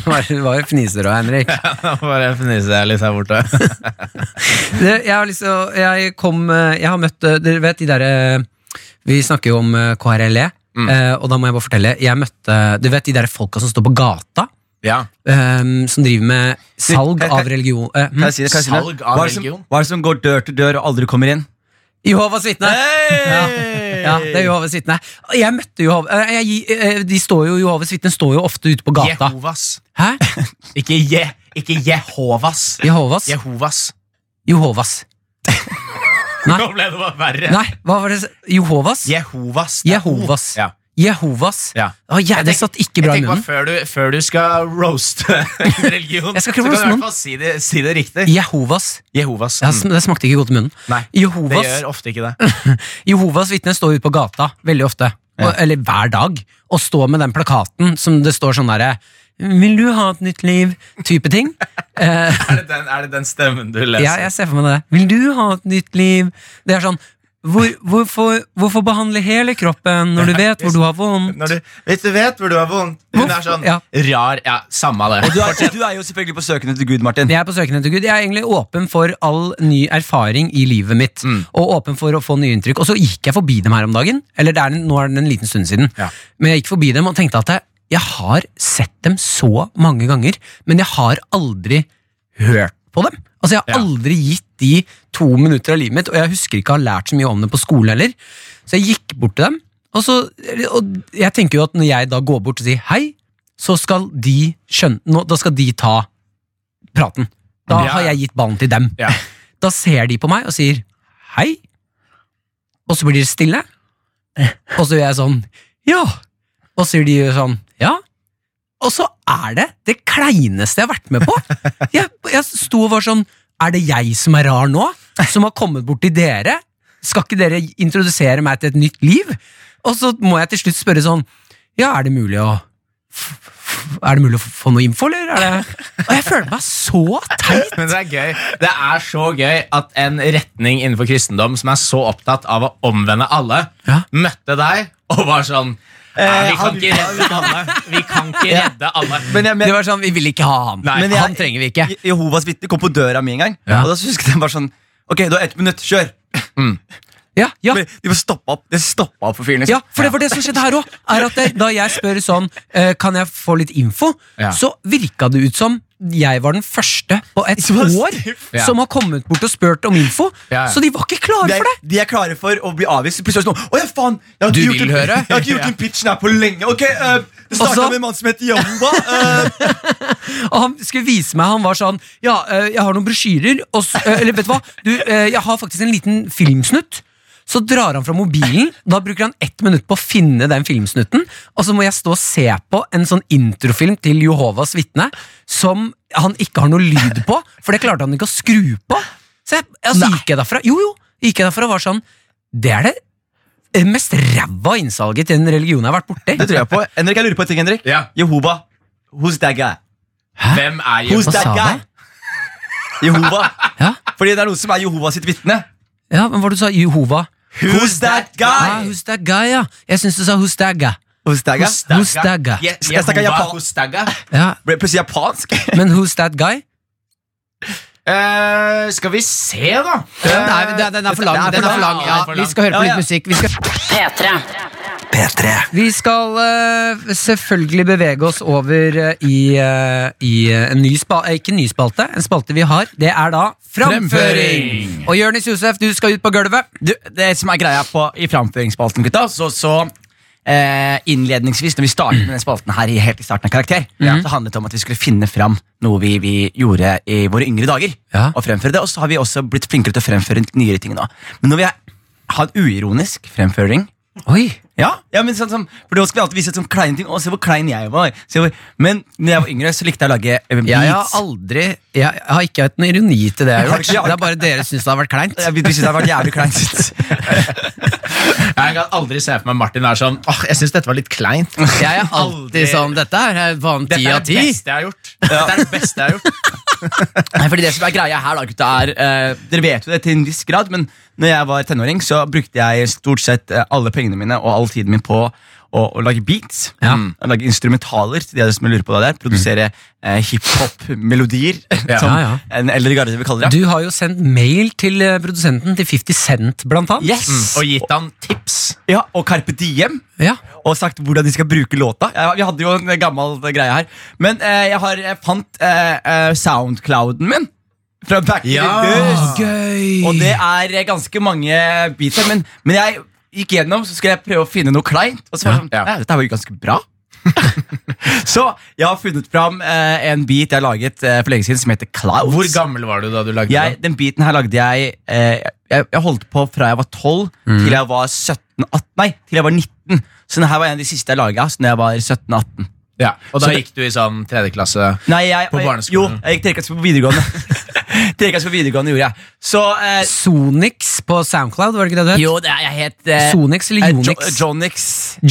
B: Hva hva fniser du av, Henrik?
D: Bare fnise jeg litt her borte.
B: Det- Jeg har liksom Jeg kom eh, Jeg har møtt eh, Dere vet de derre Vi snakker jo om eh, KRLE,
C: Mm.
B: eh, og da må jeg bare fortelle. Jeg møtte Du vet de derre folka som står på gata?
D: Ja.
B: eh, som driver med salg
C: kan-
B: av religion eh, hm?
C: Kan jeg si det? Kan jeg si det?
D: Salg av
C: hva er det som,
D: religion?
C: Hva er det som går dør til dør og aldri kommer inn?
B: Jehovas vitne! Ja, det er Jehovas vitne. Jeg møtte Jehova, eh, jeg, gi- eh, de står jo, Jehovas vitne står jo ofte ute på gata.
D: Jehovas.
B: Hæ?
D: Ikke, je, ikke Jehovas.
B: Jehovas?
D: Jehovas.
B: Jehovas.
D: Nå ble det bare verre.
B: Nei, hva var det? s- Jehovas?
D: Jehovas. Det er
B: Jehovas.
D: O. Ja.
B: Jehovas.
D: Ja.
B: Å, jeg, det satt ikke bra i
D: Jeg tenker bare
B: munnen.
D: før du, før du skal roaste en religion,
B: Jeg skal ikke roaste
D: så kan du i
B: noen.
D: hvert fall si det, si det riktig.
B: Jehovas.
D: Jehovas.
B: Ja, sm- det smakte ikke godt i munnen.
D: Mm. Nei, det
B: Jehovas,
D: gjør ofte ikke det.
B: Jehovas vitner står ute på gata veldig ofte, og, eller hver dag, og står med den plakaten som det står sånn derre Vil du ha et nytt liv? type ting. Eh,
D: Er det den, er det den stemmen du leser?
B: ja, jeg ser for meg det. Vil du ha et nytt liv? Det er sånn hvor, hvorfor, hvorfor behandle hele kroppen når du vet hvor du har vondt?
D: Når du, hvis du vet hvor du har vondt Hun er sånn
B: Ja.
D: rar Ja, samme av det.
C: Du er, du er jo selvfølgelig på søken etter Gud, Martin.
B: Jeg er på søken etter Gud. Jeg er egentlig åpen for all ny erfaring i livet mitt.
D: Mm.
B: Og åpen for å få nye inntrykk. Og så gikk jeg forbi dem her om dagen. Eller det er, en- nå er det en liten stund siden.
D: Ja.
B: Men jeg gikk forbi dem og tenkte at jeg, jeg har sett dem så mange ganger, men jeg har aldri hørt på dem. Altså Jeg har
D: Ja.
B: aldri gitt de to minutter av livet mitt, og jeg husker ikke å ha lært så mye om det på skolen heller. Så jeg gikk bort til dem, og, så, og jeg tenker jo at når jeg da går bort og sier hei, så skal de skjønne nå, Da skal de ta praten. Da
D: Ja.
B: har jeg gitt ballen til dem.
D: Ja.
B: Da ser de på meg og sier hei, og så blir det stille. Og så gjør jeg sånn ja, og så sier de sånn ja. Og så er det det kleineste jeg har vært med på. Jeg, jeg sto og var sånn Er det jeg som er rar nå? Som har kommet bort til dere? Skal ikke dere introdusere meg til et nytt liv? Og så må jeg til slutt spørre sånn Ja, er det mulig å f- f- Er det mulig å f- få noe info, eller? Er det? Og jeg føler meg så teit!
D: Men det er gøy. Det er så gøy at en retning innenfor kristendom som er så opptatt av å omvende alle,
B: Ja.
D: møtte deg og var sånn «Nei, Vi kan
C: han-
D: ikke redde alle. Vi kan ikke redde alle.
C: Men jeg, men,
B: Det var sånn, Vi vil ikke ha han.
D: Nei,
C: men jeg-
B: han trenger vi ikke.
C: Je- Jehovas vitne kom på døra mi en gang,
B: Ja.
C: og da husker jeg den bare sånn Ok, du har ett minutt, kjør!
B: Ja, ja.
C: Men De bare stoppa opp Det stoppa opp for fyren. liksom.
B: Ja, for det var det som skjedde her òg. Da jeg spør sånn eh, Kan jeg få litt info,
D: Ja.
B: så virka det ut som jeg var den første på et år
D: Ja.
B: som har kommet bort og spurt om info.
D: Ja, ja.
B: Så de var ikke klare
C: De,
B: for det!
C: er- de er klare for å bli avvist. Plutselig er det sånn Å ja, faen! Jeg har
B: Du
C: ikke
B: vil
C: gjort en-
B: høre?»
C: Jeg har ikke gjort en pitchen her på lenge. Ok, eh, Det starta
B: Også-
C: med en mann som heter Jamba. eh,
B: Og han skulle vise meg, han var sånn Ja, eh, jeg har noen brosjyrer, og s- eh, Eller vet du hva? Du, eh, jeg har faktisk en liten filmsnutt. Så drar han fra mobilen, da bruker han ett minutt på å finne den filmsnutten. Og så må jeg stå og se på en sånn introfilm til Jehovas vitne som han ikke har noe lyd på, for det klarte han ikke å skru på. Så jeg, altså, gikk jeg derfra Jo, jo, gikk jeg derfra og var sånn Det er det mest ræva innsalget til en religion jeg har vært borti.
C: det tror jeg på. Henrik, jeg lurer på en ting, Henrik.
D: Ja.
C: Jehova. Who's that guy?
D: Hvem er
C: Who's
B: Hva
C: that
B: sa
C: guy?
B: du?
C: Jehova.
B: Ja.
C: Fordi det er noen som er Jehova sitt vitne.
B: Ja, men hva du sa Jehova?
C: Who's that
B: Ah,
C: guy?
B: who's that guy, ja. Jeg syns du sa who's that guy.
C: Who's that guy?
B: Who's that guy?
D: Je-
C: Jeg snakker
D: Jehova
C: japan-
D: Hostaga.
B: Ja,
C: Ble plutselig japansk.
B: men who's that guy?
D: Eh, skal vi se, da. Eh,
F: Den er, den er- den er for lang. Den er for lang. Ja, vi skal høre på litt musikk. Vi skal,
E: P3.
A: P3
B: Vi skal eh, selvfølgelig bevege oss over eh, i, eh, i eh, en ny spalte Ikke en ny spalte, en spalte vi har. Det er da Framføring!
D: Fremføring.
B: Og Jonis Josef, du skal ut på gulvet.
F: du, det som er greia på, i framføringsspalten, gutta, så, så eh, innledningsvis, når vi startet med denne spalten her i helt i starten av Karakter, så handlet det om at vi skulle finne fram noe vi, vi gjorde i våre yngre dager.
B: Ja.
F: Og fremføre det, og så har vi også blitt flinkere til å fremføre nyere ting nå. Men når vi har hatt uironisk fremføring
B: Oi,
F: ja, ja, men sånn som, for da skal vi alltid vise et sånn kleine ting. Å, se hvor klein jeg var. Se hvor, men når jeg var yngre, så likte jeg å lage eh, beats.
B: jeg har aldri Jeg har ikke hatt noen ironi til det jeg har gjort.
F: Har du ikke-
B: Det er bare dere syns det har vært kleint.
F: Jeg begynte å synes det har vært jævlig kleint.
D: Jeg kan aldri se for meg Martin er sånn Åh, jeg syns dette var litt kleint.
B: Jeg er alltid sånn Dette er faen ti
D: Dette er
B: av
D: det
B: ti.
D: beste jeg har gjort. Dette er det beste jeg har gjort.
F: Nei, fordi det som er greia her da, gutta, er eh, Dere vet jo det til en viss grad, men når jeg var tenåring, så brukte jeg stort sett eh, alle pengene mine og all tiden min på å, å lage beats.
B: Ja.
F: Mm. Å Lage instrumentaler til de som lurer på det der. Produsere eh, hiphop-melodier,
D: Ja.
F: som
B: Ja, ja.
F: en eldre garde vil kalle det.
B: Du har jo sendt mail til eh, produsenten til 50 Cent, blant annet.
F: Yes!
D: Mm. Og gitt han tips.
F: ja, og Carpe Diem.
B: Ja.
F: og sagt hvordan de skal bruke låta. Ja, vi hadde jo en gammel greie her. Men eh, jeg, har, jeg fant eh, eh, soundclouden min
C: fra Back in
D: Ja.
C: the Days.
B: Gøy!
C: Og det er ganske mange biter, men, men jeg gikk gjennom, så skulle jeg prøve å finne noe kleint. Og så var jeg sånn,
D: Ja.
C: «Nei, dette var jo ganske bra. så jeg har funnet fram eh, en bit jeg har laget eh, for lenge siden, som heter Clouds.
D: Hvor gammel var du da du lagde
C: Jeg, den biten her lagde jeg eh, jeg, jeg holdt på fra jeg var 12 til jeg var 17, 18, nei, til jeg var 19. Så denne her var en av de siste jeg laga da jeg var 17-18.
D: den? Ja. Og da
C: Så-
D: gikk du i sånn tredje klasse?
C: Nei, jeg,
D: På barneskolen.
C: Jo, jeg gikk trekast på videregående. trekast på videregående gjorde jeg. Så eh,
B: Sonix på Soundcloud, var det ikke det du het?
C: Jo, det er, jeg het eh,
B: Sonix eller
C: eh,
B: Jonix?
C: Jo, Jonix.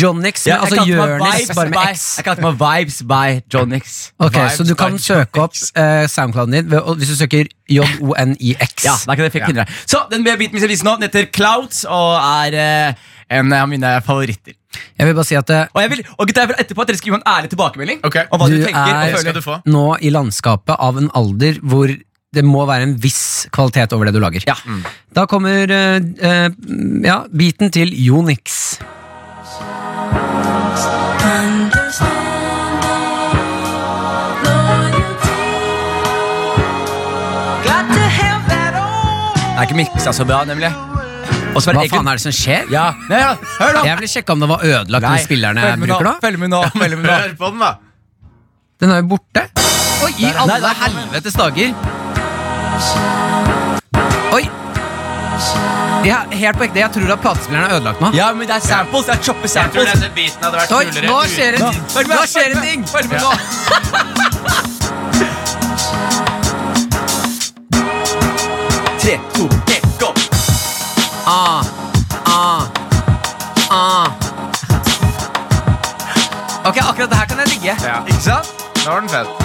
B: Jonix, men
C: Ja, jeg
B: altså
C: kalte meg
B: Jonis,
C: Vibes
B: bare med
C: by-
B: X.
C: Jeg kalte meg Vibes by Jonix.
B: Ok,
D: Vibes
B: Så du kan
D: by
B: søke opp eh, Soundclouden din ved, å- hvis du søker J-O-N-I-X.
C: Ja, da kan jeg fikk finne det. Så den biten vi skal vise nå, den heter Clouds og er eh, en av mine favoritter.
B: Jeg vil bare si at eh,
C: Og jeg vil, og gutta, jeg vil etterpå at dere skal gi meg en ærlig tilbakemelding
D: Ok.
C: om hva du,
B: Du
C: tenker
B: er-
C: og
D: skal
C: føler.
D: du få.
B: nå i landskapet av en alder hvor det må være en viss kvalitet over det du lager.
C: Ja.
B: Da kommer eh, eh, ja, biten til Jonix.
C: Det er ikke miksa så bra, nemlig. Og så er det
B: Hva
C: egentlig-
B: faen er det som skjer?
C: Ja, nei, ja, hør nå!
B: Jeg ville sjekka om det var ødelagt,
C: Nei,
B: de spillerne
C: følg
B: jeg
C: med nå,
B: bruker da.
C: Følg med nå, følg med nå.
D: Hør på den, da.
B: Den er jo borte. Oi, i
C: Nei,
B: alle
C: der kom den.
B: helvetes dager. Oi. Ja, helt på ekte, jeg tror at platespilleren er ødelagt nå.
C: Ja, men det er samples, det er choppe
D: Jeg tror
C: samples.
D: denne biten hadde vært
B: Oi,
D: kulere
B: nå skjer det,
C: Nå, følg med,
B: nå skjer
C: følg
B: det
C: med,
B: ting!
C: Følg med nå. Tre, to, en, gå!
B: Ah, ah, ah. Ok, akkurat det her kan jeg digge.
D: Ja.
C: Ikke sant?
D: Nå var den fet.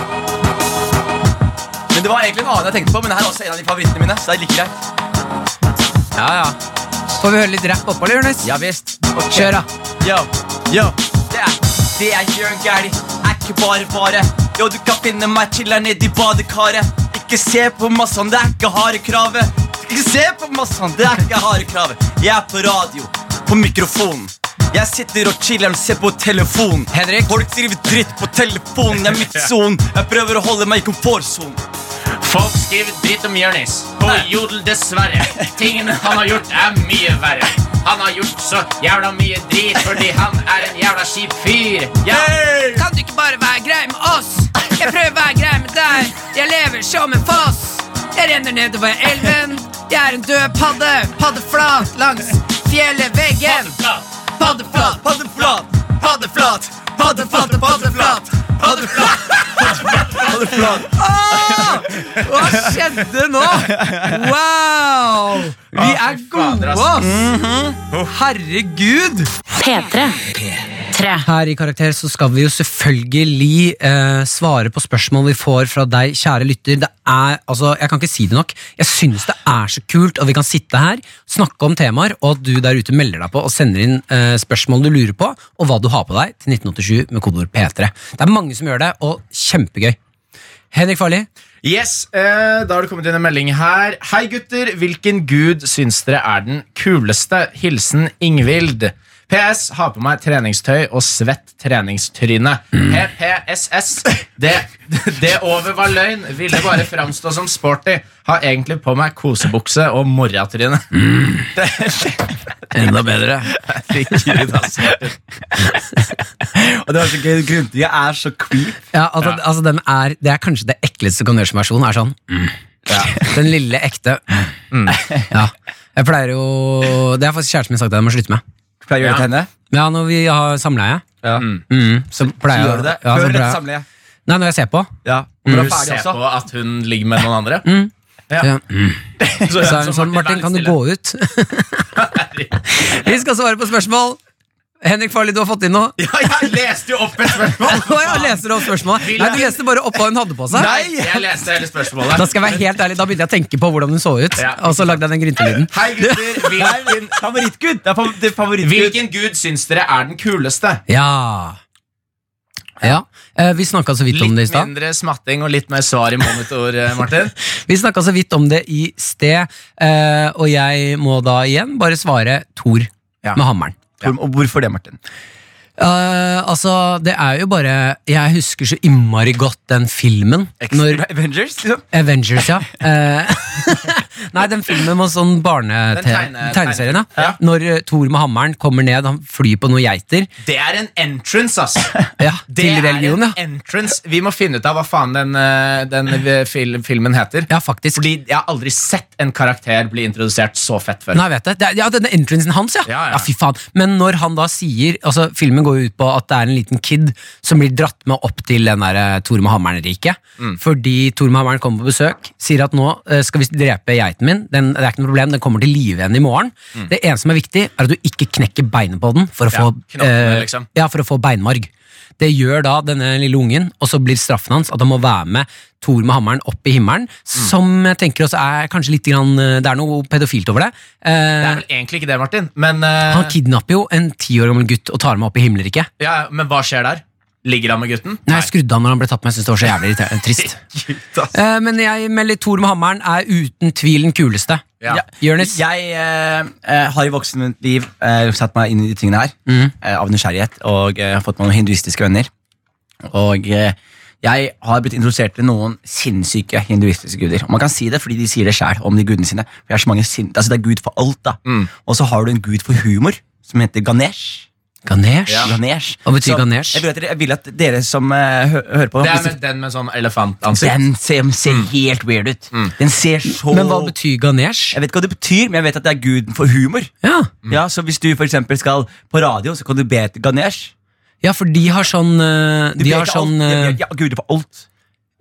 C: Men det var egentlig en annen jeg tenkte på, men det her er også en av de favorittene mine. Så det er like greit.
B: Ja, ja. Får vi høre litt rapp oppå, eller, Jonis?
C: Ja visst. Ok.
B: Kjør, da.
C: Yo, yo. Det er, det er Jørn Gæli, er ikke bare bare. Yo, du kan finne meg chiller'n nedi badekaret. Ikke se på massan, det er ikke harde kravet. Ikke se på massan, det er ikke harde kravet. Jeg er på radio, på mikrofonen. Jeg sitter og chiller'n, ser på telefonen.
B: Henrik?
C: Folk skriver dritt på telefonen, det er midtsonen. Jeg prøver å holde meg i komfortsonen.
D: Folk skriver dritt om Jonis på Jodel, dessverre. Tingene han har gjort, er mye verre. Han har gjort så jævla mye drit fordi han er en jævla kjip fyr. Ja.
B: Kan du ikke bare være grei med oss? Jeg prøver å være grei med deg. Jeg lever som en foss. Jeg renner nedover elven. Jeg er en død padde. Paddeflat langs fjellveggen. Paddeflat,
C: Paddeflat,
B: paddeflat, paddeflat, paddeflat. Paddeflat.
C: paddeflat.
B: Åh! Hva skjedde nå? Wow! Vi er gode, ass! Herregud!
E: P3. Tre.
B: Her i Karakter så skal vi jo selvfølgelig eh, svare på spørsmål vi får fra deg, kjære lytter. Det er, altså, Jeg kan ikke si det nok. Jeg syns det er så kult at vi kan sitte her, snakke om temaer, og at du der ute melder deg på og sender inn eh, spørsmål du lurer på, og hva du har på deg, til 1987 med kodeord P3. Det er mange som gjør det, og kjempegøy. Henrik Farli,
D: Yes, eh, Da har det kommet inn en melding her. Hei, gutter. Hvilken gud syns dere er den kuleste? Hilsen Ingvild. PS. Har på meg treningstøy og svett treningstryne. PPSS. Det, det over var løgn. Ville bare framstå som sporty. Har egentlig på meg kosebukse og morratryne.
B: Mm. enda bedre.
C: altså. Og det var så gøy, Grundtviga er så creep.
B: Ja, altså, altså den er, Det er kanskje det ekleste konjørsversjonen. Er sånn Den lille ekte. mm. Ja. Jeg pleier jo Det har faktisk kjæresten min sagt at jeg må slutte med.
C: Pleier å gjøre det til henne?
B: Men ja, når vi har samleie,
C: Mm.
B: mm, så pleier
C: Gjør du det?
B: Ja, så
C: Før
B: pleier
C: dette
B: jeg-
C: samlet?
B: Nei, når jeg ser på.
C: Ja. Mm. Og
D: Du
C: bra ferdig
D: ser
C: også.
D: på at hun ligger med noen andre? Ja.
B: Ja. Mm.
D: Så,
B: Så er hun sånn Martin, kan du gå ut? vi skal svare på spørsmål. Henrik Farli, du har fått inn noe?
D: Ja, jeg leste jo opp et spørsmål!
B: Å, ja, leser du opp spørsmålet? Nei, du leste bare opp hva hun hadde på seg.
D: Nei, jeg leste hele spørsmålet.
B: Da skal jeg være helt ærlig, da begynte jeg å tenke på hvordan hun så ut,
D: Ja.
B: og så lagde jeg den gryntelyden.
D: Hei gutter, hvilken,
C: Favorittgud! Det er fav- det er favorittgud.
D: hvilken gud syns dere er den kuleste?
B: Ja. Ja, eh, Vi snakka så vidt om det i
D: Litt
B: stad.
D: mindre smatting og litt mer svar i monitor, eh, Martin.
B: Vi snakket så vidt om det i sted, eh, og jeg må da igjen bare svare Thor
C: Ja.
B: med hammeren.
C: Tor- Og hvorfor det, Martin?
B: Eh, altså, det er jo bare Jeg husker så innmari godt den filmen. Når
C: Avengers, liksom.
B: Avengers, ja. Eh, nei, den filmen med sånn barne...
D: Den tegne-
B: Tegneserien, ja.
D: Ja.
B: Når eh, Thor med hammeren kommer ned, han flyr på noen geiter.
D: Det er en entrance, ass.
B: Ja,
D: Det
B: til
D: er en
B: religion, ja.
D: entrance. Vi må finne ut av hva faen den, eh, den eh, fil filmen heter.
B: Ja, faktisk.
D: Fordi jeg har aldri sett en karakter bli introdusert så fett før.
B: Nei, jeg vet det. det er, ja, denne entrancen hans, ja.
D: Ja, ja.
B: fy faen. Men når han da sier altså Filmen går jo ut på at det er en liten kid som blir dratt med opp til den der eh, Thor med hammeren-riket.
D: Mm.
B: Fordi Thor med hammeren kommer på besøk, sier at nå eh, skal vi drepe geiten min. Den, det er ikke noe problem, den kommer til live igjen i morgen. Det eneste som er viktig, er at du ikke knekker beinet på den for å,
D: Mm. Ja,
B: få,
D: knottene,
B: eh,
D: liksom.
B: ja, for å få beinmarg. Det gjør da denne lille ungen, og så blir straffen hans at han må være med Thor med hammeren opp i himmelen, som jeg tenker også er kanskje litt grann, eh, Det er noe pedofilt over det. Eh,
D: Det er vel egentlig ikke det, Martin. Men, eh,
B: han kidnapper jo en ti år gammel gutt og tar med opp i himmelriket.
D: ja, men hva skjer der? Ligger han med gutten?
B: Nei, jeg skrudde han når han ble tatt med. Jeg synes det var så jævlig irriterende- trist. Eh, men jeg melder Thor med hammeren er uten tvil den kuleste.
D: Ja.
B: Jonis?
C: Jeg eh, eh, har i voksent liv eh, satt meg inn i de tingene her eh, av nysgjerrighet, og eh, har fått meg noen hinduistiske venner. Og eh, jeg har blitt introdusert til noen sinnssyke hinduistiske guder. Og man kan si det fordi de sier det sjæl om de gudene sine. For det er så mange sin altså det er gud for alt da Og så har du en gud for humor som heter Ganesh.
B: Ganesh?
C: Ganesh.
B: Hva betyr
C: Så
B: Ganesh?
C: Jeg vil, at dere, jeg vil at dere som eh, hø hører på
D: Det er
C: hvis-
D: med, den med sånn elefantansikt.
C: Den ser, ser helt weird ut. Den ser så
B: Mm. Men hva betyr Ganesh?
C: Jeg vet ikke hva det betyr, men jeg vet at det er guden for humor.
B: Ja.
C: Ja, Så hvis du for eksempel skal på radio, så kan du be til Ganesh.
B: ja, for de har sånn eh,
C: Du
B: De
C: ber
B: har
C: til
B: sånn
C: alt.
B: eh,
C: Ja, ja, guder for alt.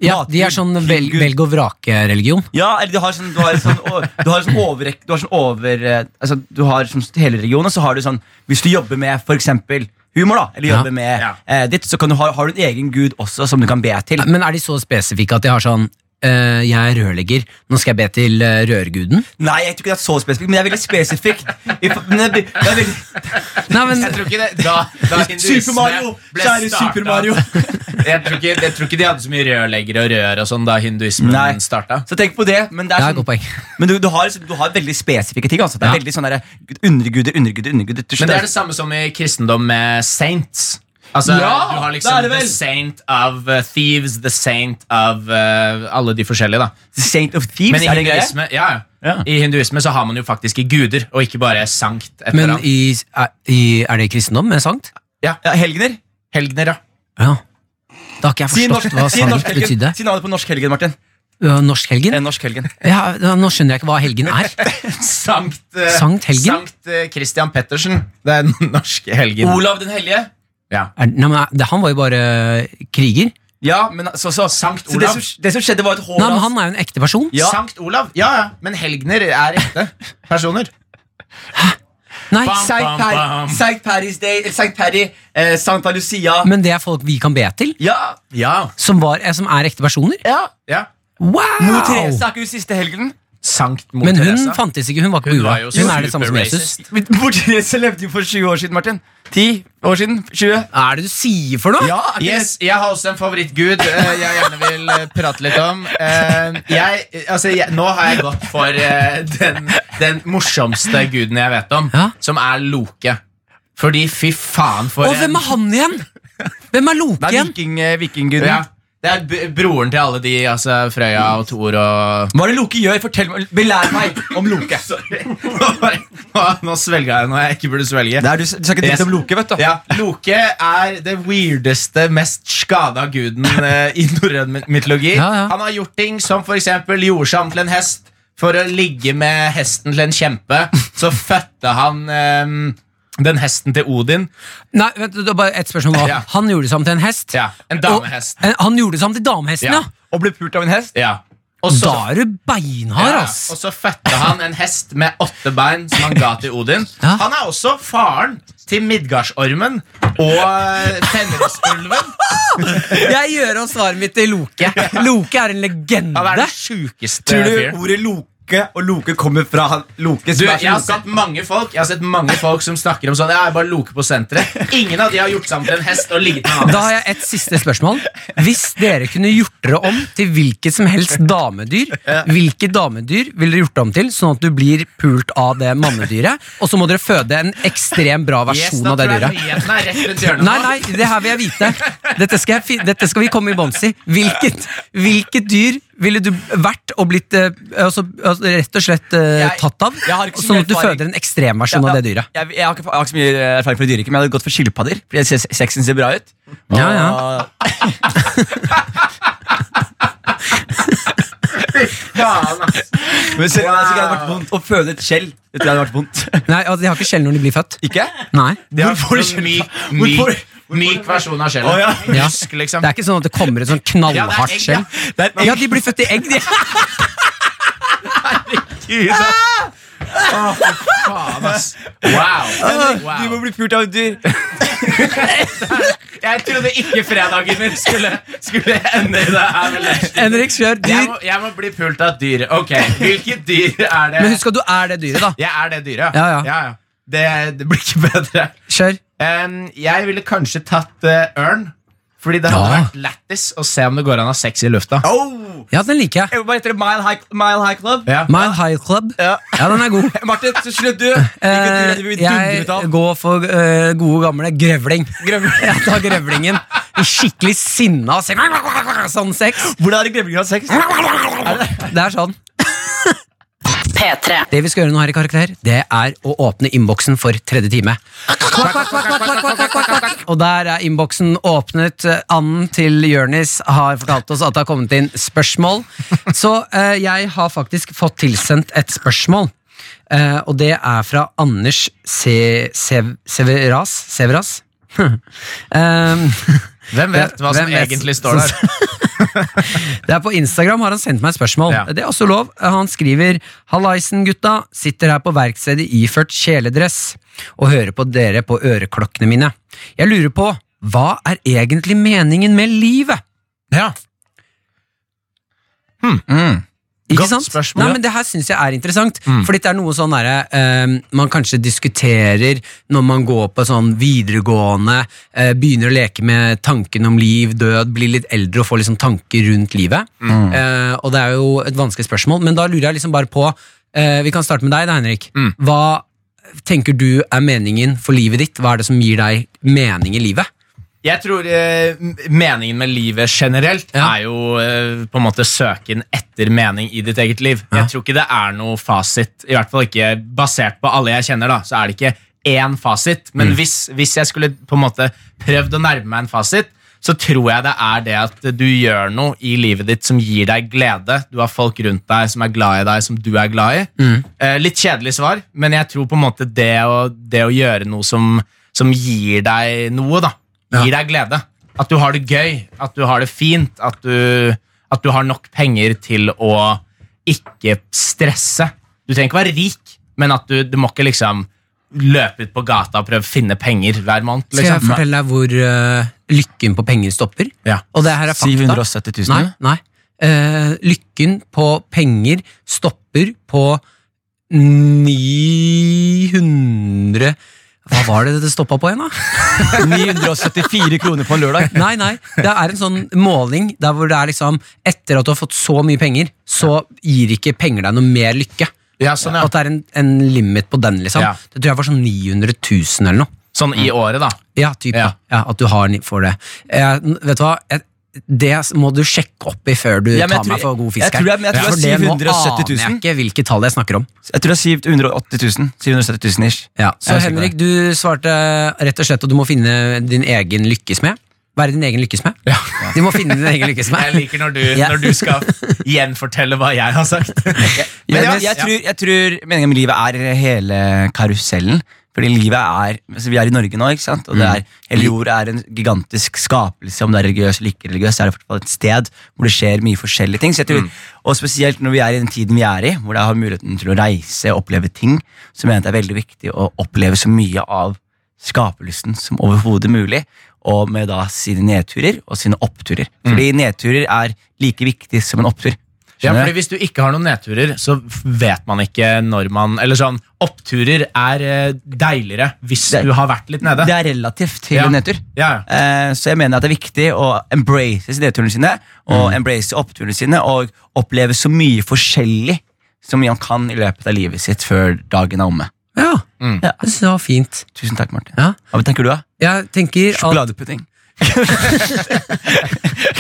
B: Ja, de er
C: Matgud,
B: sånn vel-
C: killgud.
B: velg-og-vrake-religion.
C: Ja, eller du har sånn Du har sånn, å- du har sånn overrekk Du har sånn over eh, Altså, du har sånn hele regionen, og så har du sånn Hvis du jobber med for eksempel humor, da, eller
B: Ja.
C: jobber med
D: Ja.
C: eh, ditt, så kan du ha, har du en egen gud også som du kan be til.
B: Men er de så spesifikke at de har sånn eh, Jeg er rørlegger, nå skal jeg be til eh, rørguden?
C: Nei, jeg tror ikke det er så spesifikt, men det er veldig spesifikt. I for- Men det er, det er veldig
B: Nei, men
D: Jeg tror ikke det Da, da hinduisme
C: Super Mario!
D: ble
C: Kjære
D: startet-
C: Super Mario.
D: jeg, tror ikke, jeg tror ikke de hadde så mye rørleggere og rør og sånn da hinduismen
C: Nei.
D: starta.
C: Så tenk på det. Men, det
B: Det er
C: er
B: et godt
C: sånn,
B: poeng.
C: men du, du, har, liksom- du har veldig spesifikke ting. Altså. Det er
B: Ja.
C: veldig sånn derre Underguder, underguder,
D: Men
C: underguder. Du
D: det er
C: skjønner.
D: det samme som i kristendom med saints. Altså,
C: Ja,
D: du har
C: det er
D: liksom
C: det vel.
D: The Saint of eh, Thieves, The Saint of eh, alle de forskjellige, da.
C: Saint of Thieves,
D: Men i
C: er det en greie?
D: hinduisme, ja, ja.
C: Ja.
D: I hinduisme så har man jo faktiske guder, og ikke bare sankt. et eller
B: Men
D: annet.
B: i, er, i, er det kristendom med sankt?
C: Ja, helgener?
D: Helgener, ja.
B: Ja. Da har ikke jeg
C: Si norsk,
B: forstått hva
C: si norsk
B: sankt
C: helgen.
B: betydde.
C: Si navnet på norsk helgen, Martin.
B: Ja, Norsk helgen?
C: En norsk helgen.
B: Ja, da- nå skjønner jeg ikke hva helgen er.
D: Sankt, eh,
B: Sankt Helgen?
D: Sankt eh, Christian Pettersen. Det er den norske helgen.
C: Olav den hellige.
D: Ja.
B: er nei, men, eh, det, han var jo bare eh, kriger.
C: Ja, men så, så, Sankt
D: Olav.
C: Det som, det som skjedde, var et hår
B: Nei, men
C: hans-
B: Han er jo en ekte person.
C: Ja.
D: Sankt Olav? Ja, ja. Men helgener er ekte personer.
B: Nei,
D: Bam,
B: se-
C: Sankt
D: Bam,
C: Per-
D: bam.
C: Sankt Paris Day, eh, Sankt Perry, eh, Sankta Lucia
B: Men det er folk vi kan be til,
C: Ja!
D: Ja.
B: som, var, eh, som er ekte personer.
C: ja.
D: ja.
B: Wow!
C: Mor Therese er ikke hun siste helgenen.
D: Sankt Mor
B: Men hun
D: Teresa.
B: fantes ikke. Hun var ikke på
D: Hun var
B: jorda.
D: jo
B: Hun er det samme som Jesus.
D: superracist.
C: Men Mor Therese levde jo for 20 år siden, Martin. 10 år siden? 20?
B: Hva er det du sier for noe?
C: Ja, er ikke
D: Yes, Jeg har også en favorittgud eh, jeg gjerne vil eh, prate litt om. Eh, Jeg, eh, altså, jeg, nå har jeg gått for eh, den, den morsomste guden jeg vet om,
B: Ja.
D: som er Loke. Fordi fy faen for
B: Og hvem er han igjen? Hvem er Loke
C: Det er
B: igjen?
C: viking, eh, vikingguden.
D: Ja, det er b- broren til alle de, altså Frøya og Thor og
C: Hva er det Loke gjør? Fortell meg, Belær meg om Loke.
D: Nå, nå svelga jeg noe jeg ikke burde svelge.
C: Nei, du, s- du skal ikke drikke
D: Yes.
C: om Loke, vet du.
D: Ja, Loke er det weirdeste, mest skada guden eh, i norrøn my- mytologi.
B: Ja, ja.
D: Han har gjort ting som for eksempel gjorde seg om til en hest for å ligge med hesten til en kjempe. Så fødte han eh, den hesten til Odin.
B: Nei, vent, det er bare ett spørsmål nå.
D: Ja.
B: Han gjorde det sammen til en hest.
D: Ja, en damehest.
B: Og, eh, han gjorde det sammen til damehesten,
D: Ja.
B: ja.
C: Og ble pult av en hest.
D: Ja. Og så,
B: Da er du beinhard,
D: ja,
B: ass.
D: og så fødte han en hest med åtte bein som han ga til Odin.
B: Ja.
D: Han er også faren til Midgardsormen og eh, Fenrisulven.
B: Jeg gjør om svaret mitt til Loke. Loke er en legende.
D: Han er den sjukeste
C: Tror du
D: fyren.
C: ordet Loke
G: Loke, og Loke kommer fra han, Loke
D: Du,
G: som er
D: jeg
G: fra
D: har
G: Loka.
D: sett mange folk Jeg har sett mange folk som snakker om sånn Jeg er bare loke på senteret Ingen av de har gjort sammen til en hest og ligget med en annen
B: Da har jeg et siste spørsmål. Hvis dere kunne gjort dere om til hvilket som helst damedyr, hvilket damedyr ville dere gjort dere om til, sånn at du blir pult av det mannedyret, og så må dere føde en ekstremt bra versjon av det dyret?
D: Nyheten er rett rundt hjørnet
B: Nei, nei, det her vil jeg vite. Dette skal, jeg, fi- dette skal vi komme i bånds i. Hvilket, hvilket dyr ville du vært og blitt eh, altså, altså, rett og slett eh,
C: Jeg-
B: tatt av?
C: jeg har ikke så
B: Sånn
C: mye
B: at du
C: erfaring.
B: føder en ekstremversjon
C: Ja,
B: av
C: ja.
B: Sånn det dyret.
C: Jeg, jeg, har ikke, jeg har ikke så mye erfaring fra dyreriket, men jeg hadde gått for skilpadder. Fordi jeg synes sexen ser bra ut.
B: Ja, ja.
C: Og-
D: Faen, ass.
C: Men så, altså, det hadde vært vondt Å føde et skjell. Det tror jeg hadde vært vondt.
B: Nei, altså, De har ikke skjell når de blir født.
C: Ikke?
B: Nei.
D: Det er
C: Hvor får du
D: sånn myk,
C: skjellet? Hvor får
D: myk,
C: du-
D: myk versjon av
C: Å, ja.
D: skjellet
B: Ja.
D: Husk liksom
B: Det er ikke sånn at det kommer et sånn knallhardt
D: egg,
B: skjell.
C: Det er-
B: Ja, de blir født i egg, de.
D: Ah! Faen, ass. Wow.
C: Du må
D: wow
C: bli pult av et dyr.
D: Jeg trodde ikke fredagen skulle, skulle ende i det her med lunsj.
B: Henrik, kjør
D: jeg
B: dyr.
D: må, jeg må bli pult av et dyr Ok, hvilket dyr er det?
B: Men husk at du er det dyret, da.
D: Jeg er det dyret
B: Ja, ja.
D: Det, det blir ikke bedre
B: Kjør.
D: Em, jeg ville kanskje tatt eh, ørn. Fordi det hadde
B: Ja.
D: vært lættis å se om det går an å ha sex i lufta.
C: Oh!
B: Ja, den liker jeg.
C: Jeg- Hva heter det? Mile High, Mile High Club?
D: Ja.
B: Mile High Club.
C: Ja.
B: Ja, den er god.
C: Martin, så slutt du. Hvilket dyr er det vi
B: Eh,
C: dundrer
B: jeg
C: ut av?
B: går for eh, gode gamle grevling.
C: Grevling.
B: Jeg tar grevlingen. I skikkelig sinna se- sånn sex.
C: Hvordan er det grevlinger har sex?
B: Det er sånn.
E: P3.
B: Det vi skal gjøre nå her i Karakter, det er å åpne innboksen for tredje time. Kvakk, kvakk, kvakk, kvakk, kvakk, kvakk, kvakk, kvakk. Og der er innboksen åpnet. Anden til Jørnis har fortalt oss at det har kommet inn spørsmål. Så eh, jeg har faktisk fått tilsendt et spørsmål. Eh, og det er fra Anders Se Sev Severas. Severas? um,
D: Hvem vet hva som
B: Hvem vet?
D: egentlig står der?
B: Det er på Instagram har han sendt meg et spørsmål.
D: Ja.
B: Det er også lov. Han skriver Hallaisen, gutta. Sitter her på verkstedet iført kjeledress og hører på dere på øreklokkene mine. Jeg lurer på, hva er egentlig meningen med livet?
D: Ja.
B: Ikke
D: Godt
B: sant?
D: spørsmål, ja. Mm.
B: Nei, men Det her syns jeg er interessant. Fordi det er noe sånn derre eh, man kanskje diskuterer når man går på sånn videregående, eh, begynner å leke med tanken om liv, død, blir litt eldre og får liksom tanker rundt livet.
D: Mm.
B: Eh, og det er jo et vanskelig spørsmål, men da lurer jeg liksom bare på eh, Vi kan starte med deg, da, Henrik.
D: Mm.
B: Hva tenker du er meningen for livet ditt? Hva er det som gir deg mening i livet?
D: Jeg tror eh, m- meningen med livet generelt
B: Ja.
D: er jo eh, på en måte søken etter mening i ditt eget liv. Jeg tror ikke det er noe fasit, i hvert fall ikke basert på alle jeg kjenner. da, så er det ikke én fasit. Men hvis, hvis jeg skulle på en måte prøvd å nærme meg en fasit, så tror jeg det er det at du gjør noe i livet ditt som gir deg glede. Du har folk rundt deg som er glad i deg, som du er glad i. Eh, litt kjedelig svar, men jeg tror på en måte det å, det å gjøre noe som, som gir deg noe, da. Gir deg glede. At du har det gøy, at du har det fint, at du, at du har nok penger til å ikke stresse. Du trenger ikke være rik, men at du, du må ikke liksom løpe ut på gata og prøve å finne penger hver måned.
B: Skal jeg
D: Liksom.
B: fortelle deg hvor eh, lykken på penger stopper?
D: Ja.
B: Og det her er fakta.
C: 770 000?
B: Nei, nei. Eh, lykken på penger stopper på 900 Hva var det det stoppa på igjen, da?
C: 974 kroner på en lørdag.
B: Nei, nei. Det er en sånn måling der hvor det er liksom Etter at du har fått så mye penger, så gir ikke penger deg noe mer lykke.
D: Ja, sånn, ja.
B: At det er en, en limit på den, liksom.
D: Ja.
B: Det tror jeg var sånn 900 000 eller noe.
D: sånn i året, da.
B: Ja, typ,
D: Ja.
B: ja. ja At du har ni- får det. Eh, vet du hva? Jeg, det må du sjekke opp i før du
C: Ja, men jeg
B: tar meg
C: tror-
B: for god
C: jeg
B: fisk. her.
C: tror jeg- men jeg tror
B: For
C: det
B: det
C: er
B: nå
C: 770 000.
B: aner jeg ikke hvilke tall jeg snakker om.
C: Jeg tror det er 780 000. 770 000 ish.
B: Ja, så
C: Jeg er sikker på
B: Henrik, du svarte rett og slett at du må finne din egen lykkesmed. Være din egen lykkesmed. Du må finne din egen
D: Jeg
B: lykkesmed.
D: liker når du,
B: Ja.
D: når du skal gjenfortelle hva jeg har sagt.
C: Men
D: det var-
C: jeg, jeg, tror, jeg tror meningen med livet er hele karusellen. Fordi livet er, altså Vi er i Norge nå, ikke sant? og det er, hele jorda er en gigantisk skapelse. Om det er religiøs eller ikke religiøs, så er det i hvert fall et sted hvor det skjer mye forskjellige ting. Så jeg tror, Og spesielt når vi er i den tiden vi er i, hvor jeg har muligheten til å reise og oppleve ting, så mener jeg det er veldig viktig å oppleve så mye av skapelsen som overhodet mulig, og Mm. med da sine nedturer og sine oppturer. Fordi nedturer er like viktig som en opptur.
D: Ja,
C: Skjønner
D: fordi Hvis du ikke har noen nedturer, så f- vet man ikke når man Eller sånn, Oppturer er eh, deiligere hvis
C: Det-
D: du har vært litt nede.
C: Det er relativt til
D: Ja.
C: nedtur.
D: Ja, ja.
C: Eh, Så jeg mener at det er viktig å embrace nedturene sine og embrace oppturene sine og oppleve så mye forskjellig som man kan i løpet av livet sitt før dagen er omme.
B: Ja,
D: Mm.
B: ja. Det var fint.
C: Tusen takk, Martin.
B: Ja.
C: Hva tenker du, da?
B: Jeg tenker at
C: Sjokoladepudding.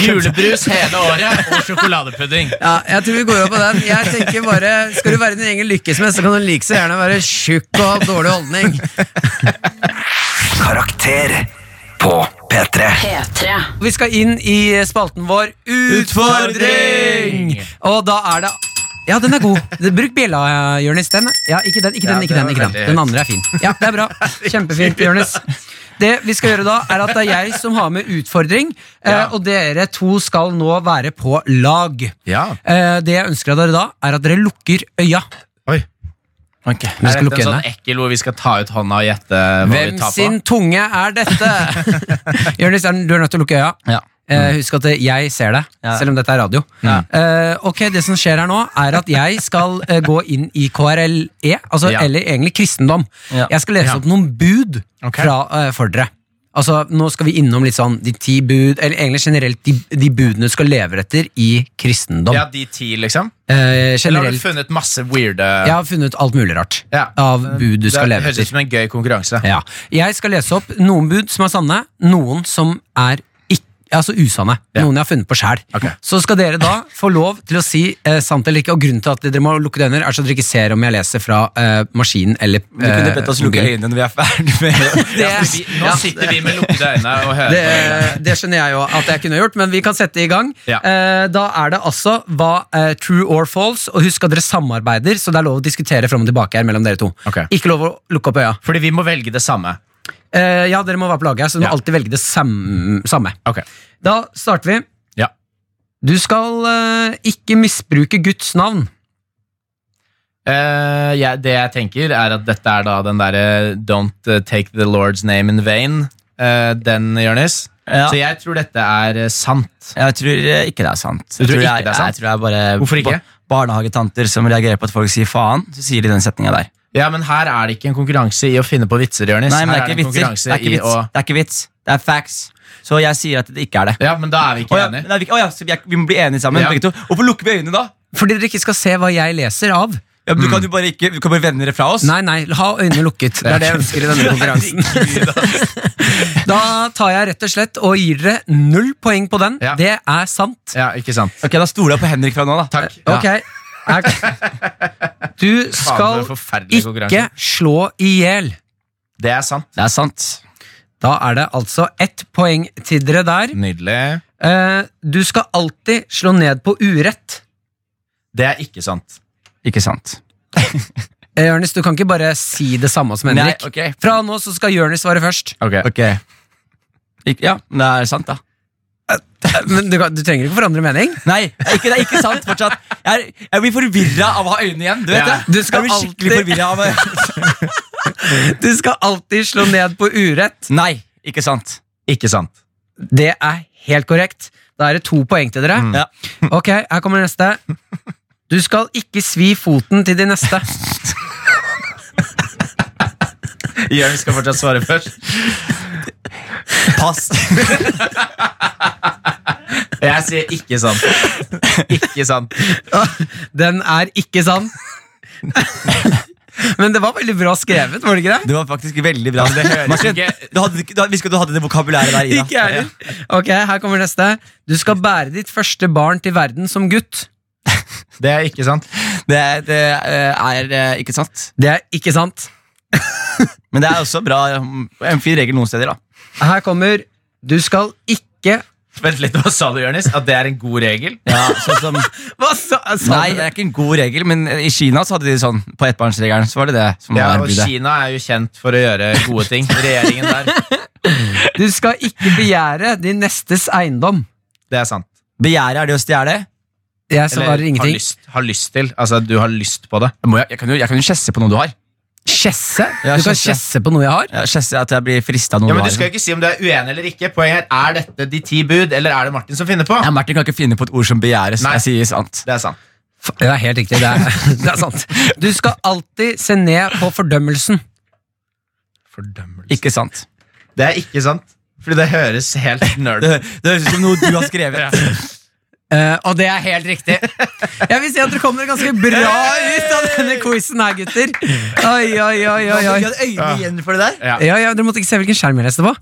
D: Julebrus hele året og sjokoladepudding.
B: ja, Jeg tror vi går over på den. Jeg tenker bare, Skal du være din egen lykkesmed, så kan du like så gjerne være tjukk og ha dårlig holdning.
A: Karakter på P3.
E: P3.
B: Vi skal inn i spalten vår Utfordring! Og da er det Ja, den er god. Bruk bjella, Jonis. Den, ja, ikke den, ikke den.
D: Ja,
B: ikke
D: den
B: den,
D: var
B: ikke den.
D: veldig
B: den
D: høyt.
B: andre er fin. Ja, det er bra. Kjempefint, Jonis. Det vi skal gjøre da, er at det er jeg som har med utfordring, eh,
D: Ja.
B: og dere to skal nå være på lag.
D: Ja.
B: Eh, Det jeg ønsker av dere da, er at dere lukker øya.
D: Oi.
B: Vi
C: Eh,
D: Er
B: skal
D: dette
B: lukke
D: en sånn
B: øynene.
D: ekkel hvor vi skal ta ut hånda og gjette hva
B: Hvem
D: vi tar på?
B: sin tunge er dette? Jonis, er den- du er nødt til å lukke øya.
C: Ja.
D: Mm.
B: Eh, husk at eh, jeg ser det, selv om dette er radio. Eh, ok, Det som skjer her nå, er at jeg skal eh, gå inn i KRLE, altså,
D: Ja.
B: eller egentlig kristendom.
C: Ja.
B: Jeg skal lese
D: Ja.
B: opp noen bud
D: Ok.
B: fra, eh, for dere. Altså, Nå skal vi innom litt sånn de ti bud, eller egentlig generelt de, de budene du skal leve etter i kristendom.
D: Ja, de ti, liksom?
B: Eh,
D: Eller har du
B: generelt.
D: funnet masse weirde
B: Jeg har funnet alt mulig rart
D: Ja.
B: av bud du skal
D: Det
B: leve
D: høres
B: etter.
D: ut som en gøy konkurranse.
B: Ja. Jeg skal lese opp noen bud som er sanne, noen som er ikk- altså usanne.
D: Ja.
B: Noen jeg har funnet på sjæl.
D: Ok.
B: Så skal dere da få lov til å si eh, sant eller ikke, og grunnen til at dere må lukke øynene, er så dere ikke ser om jeg leser fra eh, maskinen eller eh,
C: Du kunne bedt oss lukke
B: mobilen.
C: øynene når vi er ferdig med
B: Det,
D: Vi, nå sitter vi med lukkede øyne og hører
B: det,
D: på hele.
B: det skjønner jeg jo at jeg kunne gjort, men vi kan sette i gang.
D: Ja.
B: Eh, da er det altså hva eh, true or false, og husk at dere samarbeider, så det er lov å diskutere fram og tilbake her mellom dere to.
D: Ok.
B: Ikke lov å lukke opp øya.
D: Fordi vi må velge det samme.
B: Eh, ja, dere må være på laget her, så du
D: Ja.
B: må alltid velge det sam samme.
D: Ok.
B: Da starter vi.
D: Ja.
B: Du skal eh, ikke misbruke Guds navn.
D: Eh, jeg, det jeg tenker, er at dette er da den derre Don't eh, take the Lord's name in vain. eh, den, Jonis.
C: Ja.
D: Så jeg tror dette er eh, sant.
C: Jeg tror eh, ikke det er sant. Jeg
D: tror ikke
C: jeg-
D: det er sant?
C: Jeg tror det er bare
D: Hvorfor ikke?
C: ba- barnehagetanter som reagerer på at folk sier faen, så sier de den setninga der.
D: Ja, men her er det ikke en konkurranse i å finne på vitser, Jonis.
C: Nei, men det
D: Her en
C: er ikke vitser. Det
D: konkurranse
C: er ikke
D: i
C: vits.
D: å-
C: Det er ikke vits. Det er facts. Så jeg sier at det ikke er det.
D: Ja, men da er vi
C: Å
D: ikke
C: ja,
D: enige.
C: nei, vi, å ja, så vi, er, vi må bli enige sammen,
D: Ja.
C: begge to. Hvorfor lukker vi øynene da?
B: Fordi dere ikke skal se hva jeg leser av.
C: Ja, men du kan jo bare ikke, du kan bare vende dere fra oss.
B: Nei, nei, ha øynene lukket. Det er det jeg ønsker i denne konkurransen. da tar jeg rett og slett og gir dere null poeng på den.
D: Ja.
B: Det er sant.
D: Ja, ikke sant.
C: Ok, Da stoler jeg på Henrik fra nå, da.
D: Takk.
B: Ok. Er- Du
D: Faen,
B: skal
D: for en forferdelig
B: ikke
D: konkurranse.
B: slå i hjel.
D: Det er sant.
C: Det er sant.
B: Da er det altså ett poeng til dere der.
D: Nydelig.
B: Eh, du skal alltid slå ned på urett.
D: Det er ikke sant.
C: Ikke sant.
B: Eh, Jonis, du kan ikke bare si det samme som Henrik.
C: Nei, ok.
B: Fra nå så skal Jonis svare først.
C: Ok. Ik ja, men det er sant, da.
B: Eh, Men du, kan, du trenger ikke forandre mening.
C: Nei, det er ikke, det er ikke sant fortsatt. Jeg, er, jeg blir forvirra av å ha øynene igjen. Du vet
D: Ja.
C: det?
B: Du skal
C: jeg blir skikkelig
B: alltid-
C: forvirra av
B: Du skal alltid slå ned på urett.
C: Nei, ikke sant.
D: Ikke sant.
B: Det er helt korrekt. Da er det to poeng til dere.
C: Mm. Ja.
B: Ok, her kommer neste. Du skal ikke svi foten til de neste.
D: Jørn skal fortsatt svare først.
C: Pass.
D: Jeg sier ikke sant. Ikke sant.
B: Den er ikke sann. Men det var veldig bra skrevet, var det ikke det?
C: Det var faktisk veldig bra.
D: det høres
C: Martin,
D: ikke-
C: du hadde, ikke- du hadde, vi skulle- du hadde det vokabulæret der, Ida.
B: Ikke jeg heller. Ok, her kommer neste. Du skal bære ditt første barn til verden som gutt.
D: Det er ikke sant.
C: Det, det eh, er eh, ikke sant.
B: Det er ikke sant.
C: Men det er også bra, um, en fin regel noen steder. da
B: Her kommer Du skal ikke
D: Vent litt, hva sa du, Jørnis? At det er en god regel?
C: ja, sånn som,
B: Hva sa, sa
C: Nei,
B: du?
C: det er ikke en god regel, men i Kina så hadde de sånn På ettbarnsregelen så var det det som
D: Ja,
C: var
D: og
C: budet.
D: Kina er jo kjent for å gjøre gode ting. Regjeringen der.
B: Du skal ikke begjære din nestes eiendom.
D: Det er sant.
C: Begjæret er det å stjele?
B: Jeg svarer
D: har
B: ingenting.
D: lyst, har lyst til. Altså, du har lyst på det.
C: Jeg, må- jeg, jeg kan jo jeg kan jo kjesse på noe du har.
B: Kjesse?
C: Ja,
B: du kan
C: kjesse.
B: kjesse på noe jeg har?
C: Ja, Kjesse, at jeg blir frista av noen
D: Ja, men Du
C: varer.
D: skal jo ikke si om du er uenig eller ikke. Poenget er er dette de ti bud, eller er det Martin som finner på?
F: Ja, Martin kan ikke finne på et ord som begjæres.
D: Nei.
F: Jeg sier sant.
D: Det er sant.
B: F- Det er helt riktig. Det er, det er sant. Du skal alltid se ned på fordømmelsen.
D: Fordømmelse.
F: Ikke sant.
D: Det er ikke sant. Fordi det høres helt nerd
F: Det, det høres ut som noe du har skrevet.
B: Eh, og det er helt riktig. Jeg vil si at dere kommer ganske bra ut av denne quizen her, gutter. Oi, oi, oi, oi, oi.
F: øynene igjen for det der.
D: Ja.
B: Ja, ja, Dere måtte ikke se hvilken skjerm jeg leste på.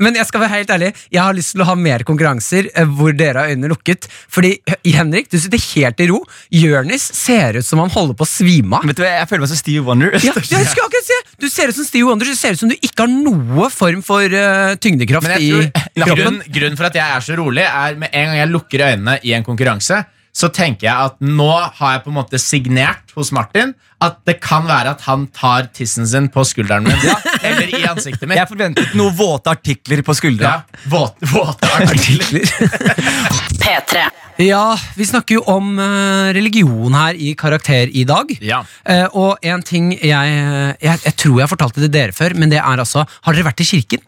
B: Men jeg skal være helt ærlig Jeg har lyst til å ha mer konkurranser eh, hvor dere har øynene lukket. Fordi eh, Henrik, du sitter helt i ro. Jonis ser ut som han holder på å svime av.
F: Vet du hva, Jeg føler meg som Steve Wonder.
B: Ja, jeg skulle akkurat si det. Du ser ut som Steve Wonder. Du ser ut som du ikke har noe form for eh, tyngdekraft
D: Men
B: i
D: jeg tror
B: kroppen.
D: grunnen, grunnen for at jeg er så rolig, er med en gang jeg lukker øynene i en konkurranse, så tenker jeg at nå har jeg på en måte signert hos Martin at det kan være at han tar tissen sin på skulderen min eller i ansiktet mitt.
F: Jeg forventet noen våte artikler på skuldra.
D: Ja, våt, våte artikler.
E: P3.
B: Ja, vi snakker jo om eh, religion her i Karakter i dag.
D: Ja.
B: Eh, og en ting jeg, eh, jeg Jeg tror jeg fortalte det dere før, men det er altså Har dere vært i kirken?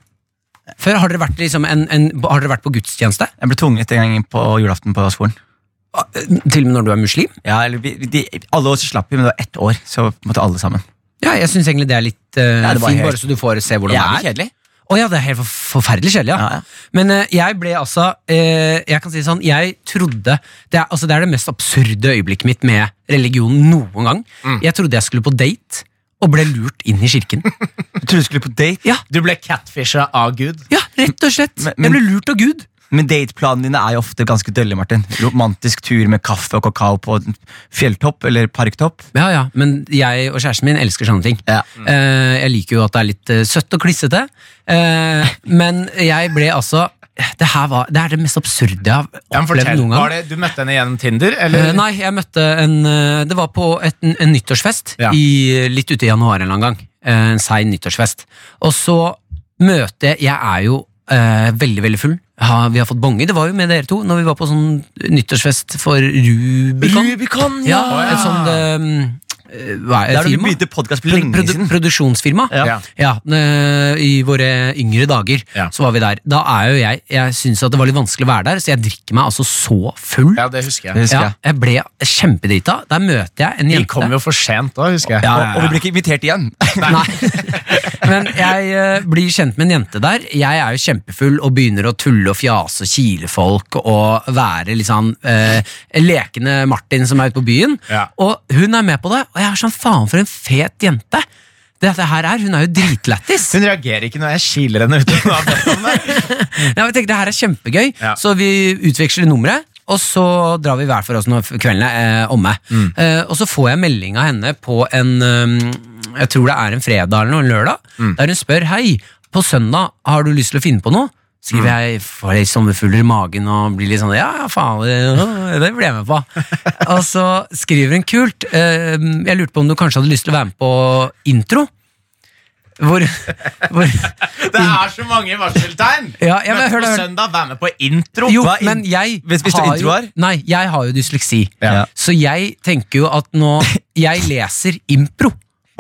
B: Før Har dere vært, liksom en, en, har dere vært på gudstjeneste?
F: Jeg ble tvunget en gang inn på julaften på skolen.
B: Eh, Til og med når du er muslim?
F: Ja, eller vi, de, Alle år så slapp vi, men det var ett år. Så måtte alle sammen.
B: Ja, jeg syns egentlig det er litt eh,
F: Ja, det var
B: fint,
F: helt-
B: bare så du får se hvordan
F: Jævlig
B: det er.
F: kjedelig.
B: Å ja, det er helt for, forferdelig kjedelig, ja.
F: Ja, ja.
B: Men eh, jeg ble altså eh, Jeg kan si det sånn, jeg trodde det er, altså, det er det mest absurde øyeblikket mitt med religion noen gang. Jeg trodde jeg skulle på date, og ble lurt inn i kirken.
F: Jeg trodde du skulle på date,
B: Ja,
D: Du ble catfisha av Gud.
B: ja rett og slett.
F: Men- men-
B: jeg ble lurt av Gud.
F: men dateplanene dine er jo ofte ganske dølle. Martin Romantisk tur med kaffe og kakao på en fjelltopp eller parktopp.
B: Ja, ja, Men jeg og kjæresten min elsker sånne ting.
F: Ja.
B: Eh, jeg liker jo at det er litt eh, søtt og klissete, eh, men jeg ble altså det, her var, det er det mest absurde jeg har
D: Ja, men
B: opplevd
D: fortell,
B: noen gang.
D: var det, du møtte henne gjennom Tinder? Eller?
B: Eh, nei, jeg møtte en eh, Det var på et, en, en nyttårsfest
D: Ja.
B: i, eh, litt ute i januar en eller annen gang. Eh, en sein nyttårsfest. Og så møter jeg Jeg er jo eh, veldig, veldig full. Ha, vi har fått bonger. Det var jo med dere to når vi var på sånn nyttårsfest for Rubicon.
F: Rubicon,
B: ja,
D: Å, ja.
B: et sånt eh, eh, hva
F: Der
B: er
F: har
B: det
F: du
B: firma?
F: begynt podkast for
B: Pro-
F: lenge
B: produ-
F: siden.
B: Produksjonsfirma.
D: Ja.
B: Ja, eh, I våre yngre dager
D: Ja.
B: så var vi der. Da er jo jeg Jeg syns at det var litt vanskelig å være der, så jeg drikker meg altså så full.
D: Ja, det husker jeg.
F: Det husker
B: Ja,
F: jeg.
B: jeg ble kjempedrita. Der møter jeg en
D: De
B: jente.
D: kom jo for sent da, husker jeg.
F: Og, og vi ble ikke invitert igjen.
B: Nei. Men jeg eh, blir kjent med en jente der. Jeg er jo kjempefull og begynner å tulle og fjase og kile folk og være litt sånn eh, lekende Martin som er ute på byen.
D: Ja.
B: Og hun er med på det, og jeg er sånn faen for en fet jente. Dette her er, Hun er jo dritlættis.
D: Hun reagerer ikke når jeg kiler henne uten å ha bedt om det.
B: Nei, men jeg tenker, det her er kjempegøy,
D: Ja.
B: så vi utveksler nummeret. Og så drar vi hver for oss når kvelden er eh, omme.
D: Mm.
B: Eh, og så får jeg melding av henne på en eh, Jeg tror det er en fredag eller noe, en lørdag.
D: Mm.
B: Der hun spør hei, på søndag har du lyst til å finne på noe. Skriver
D: Mm.
B: jeg får litt sommerfugler i magen og blir litt sånn ja, ja, faen, det, øh, det blir jeg med på. og så skriver hun kult. eh, jeg lurte på om du kanskje hadde lyst til å være med på intro? Hvor, hvor
D: Det er så mange varseltegn!
B: Ja, ja, men
D: Møte
B: hør da,
D: på
B: hør da.
D: søndag, vær med på intro.
B: Jo,
F: Hva er in-
B: men jeg
F: Vet- visste du
B: har
F: intro
B: jo-
F: er?
B: Nei, jeg har jo dysleksi.
F: Ja.
B: Så jeg tenker jo at nå Jeg leser impro,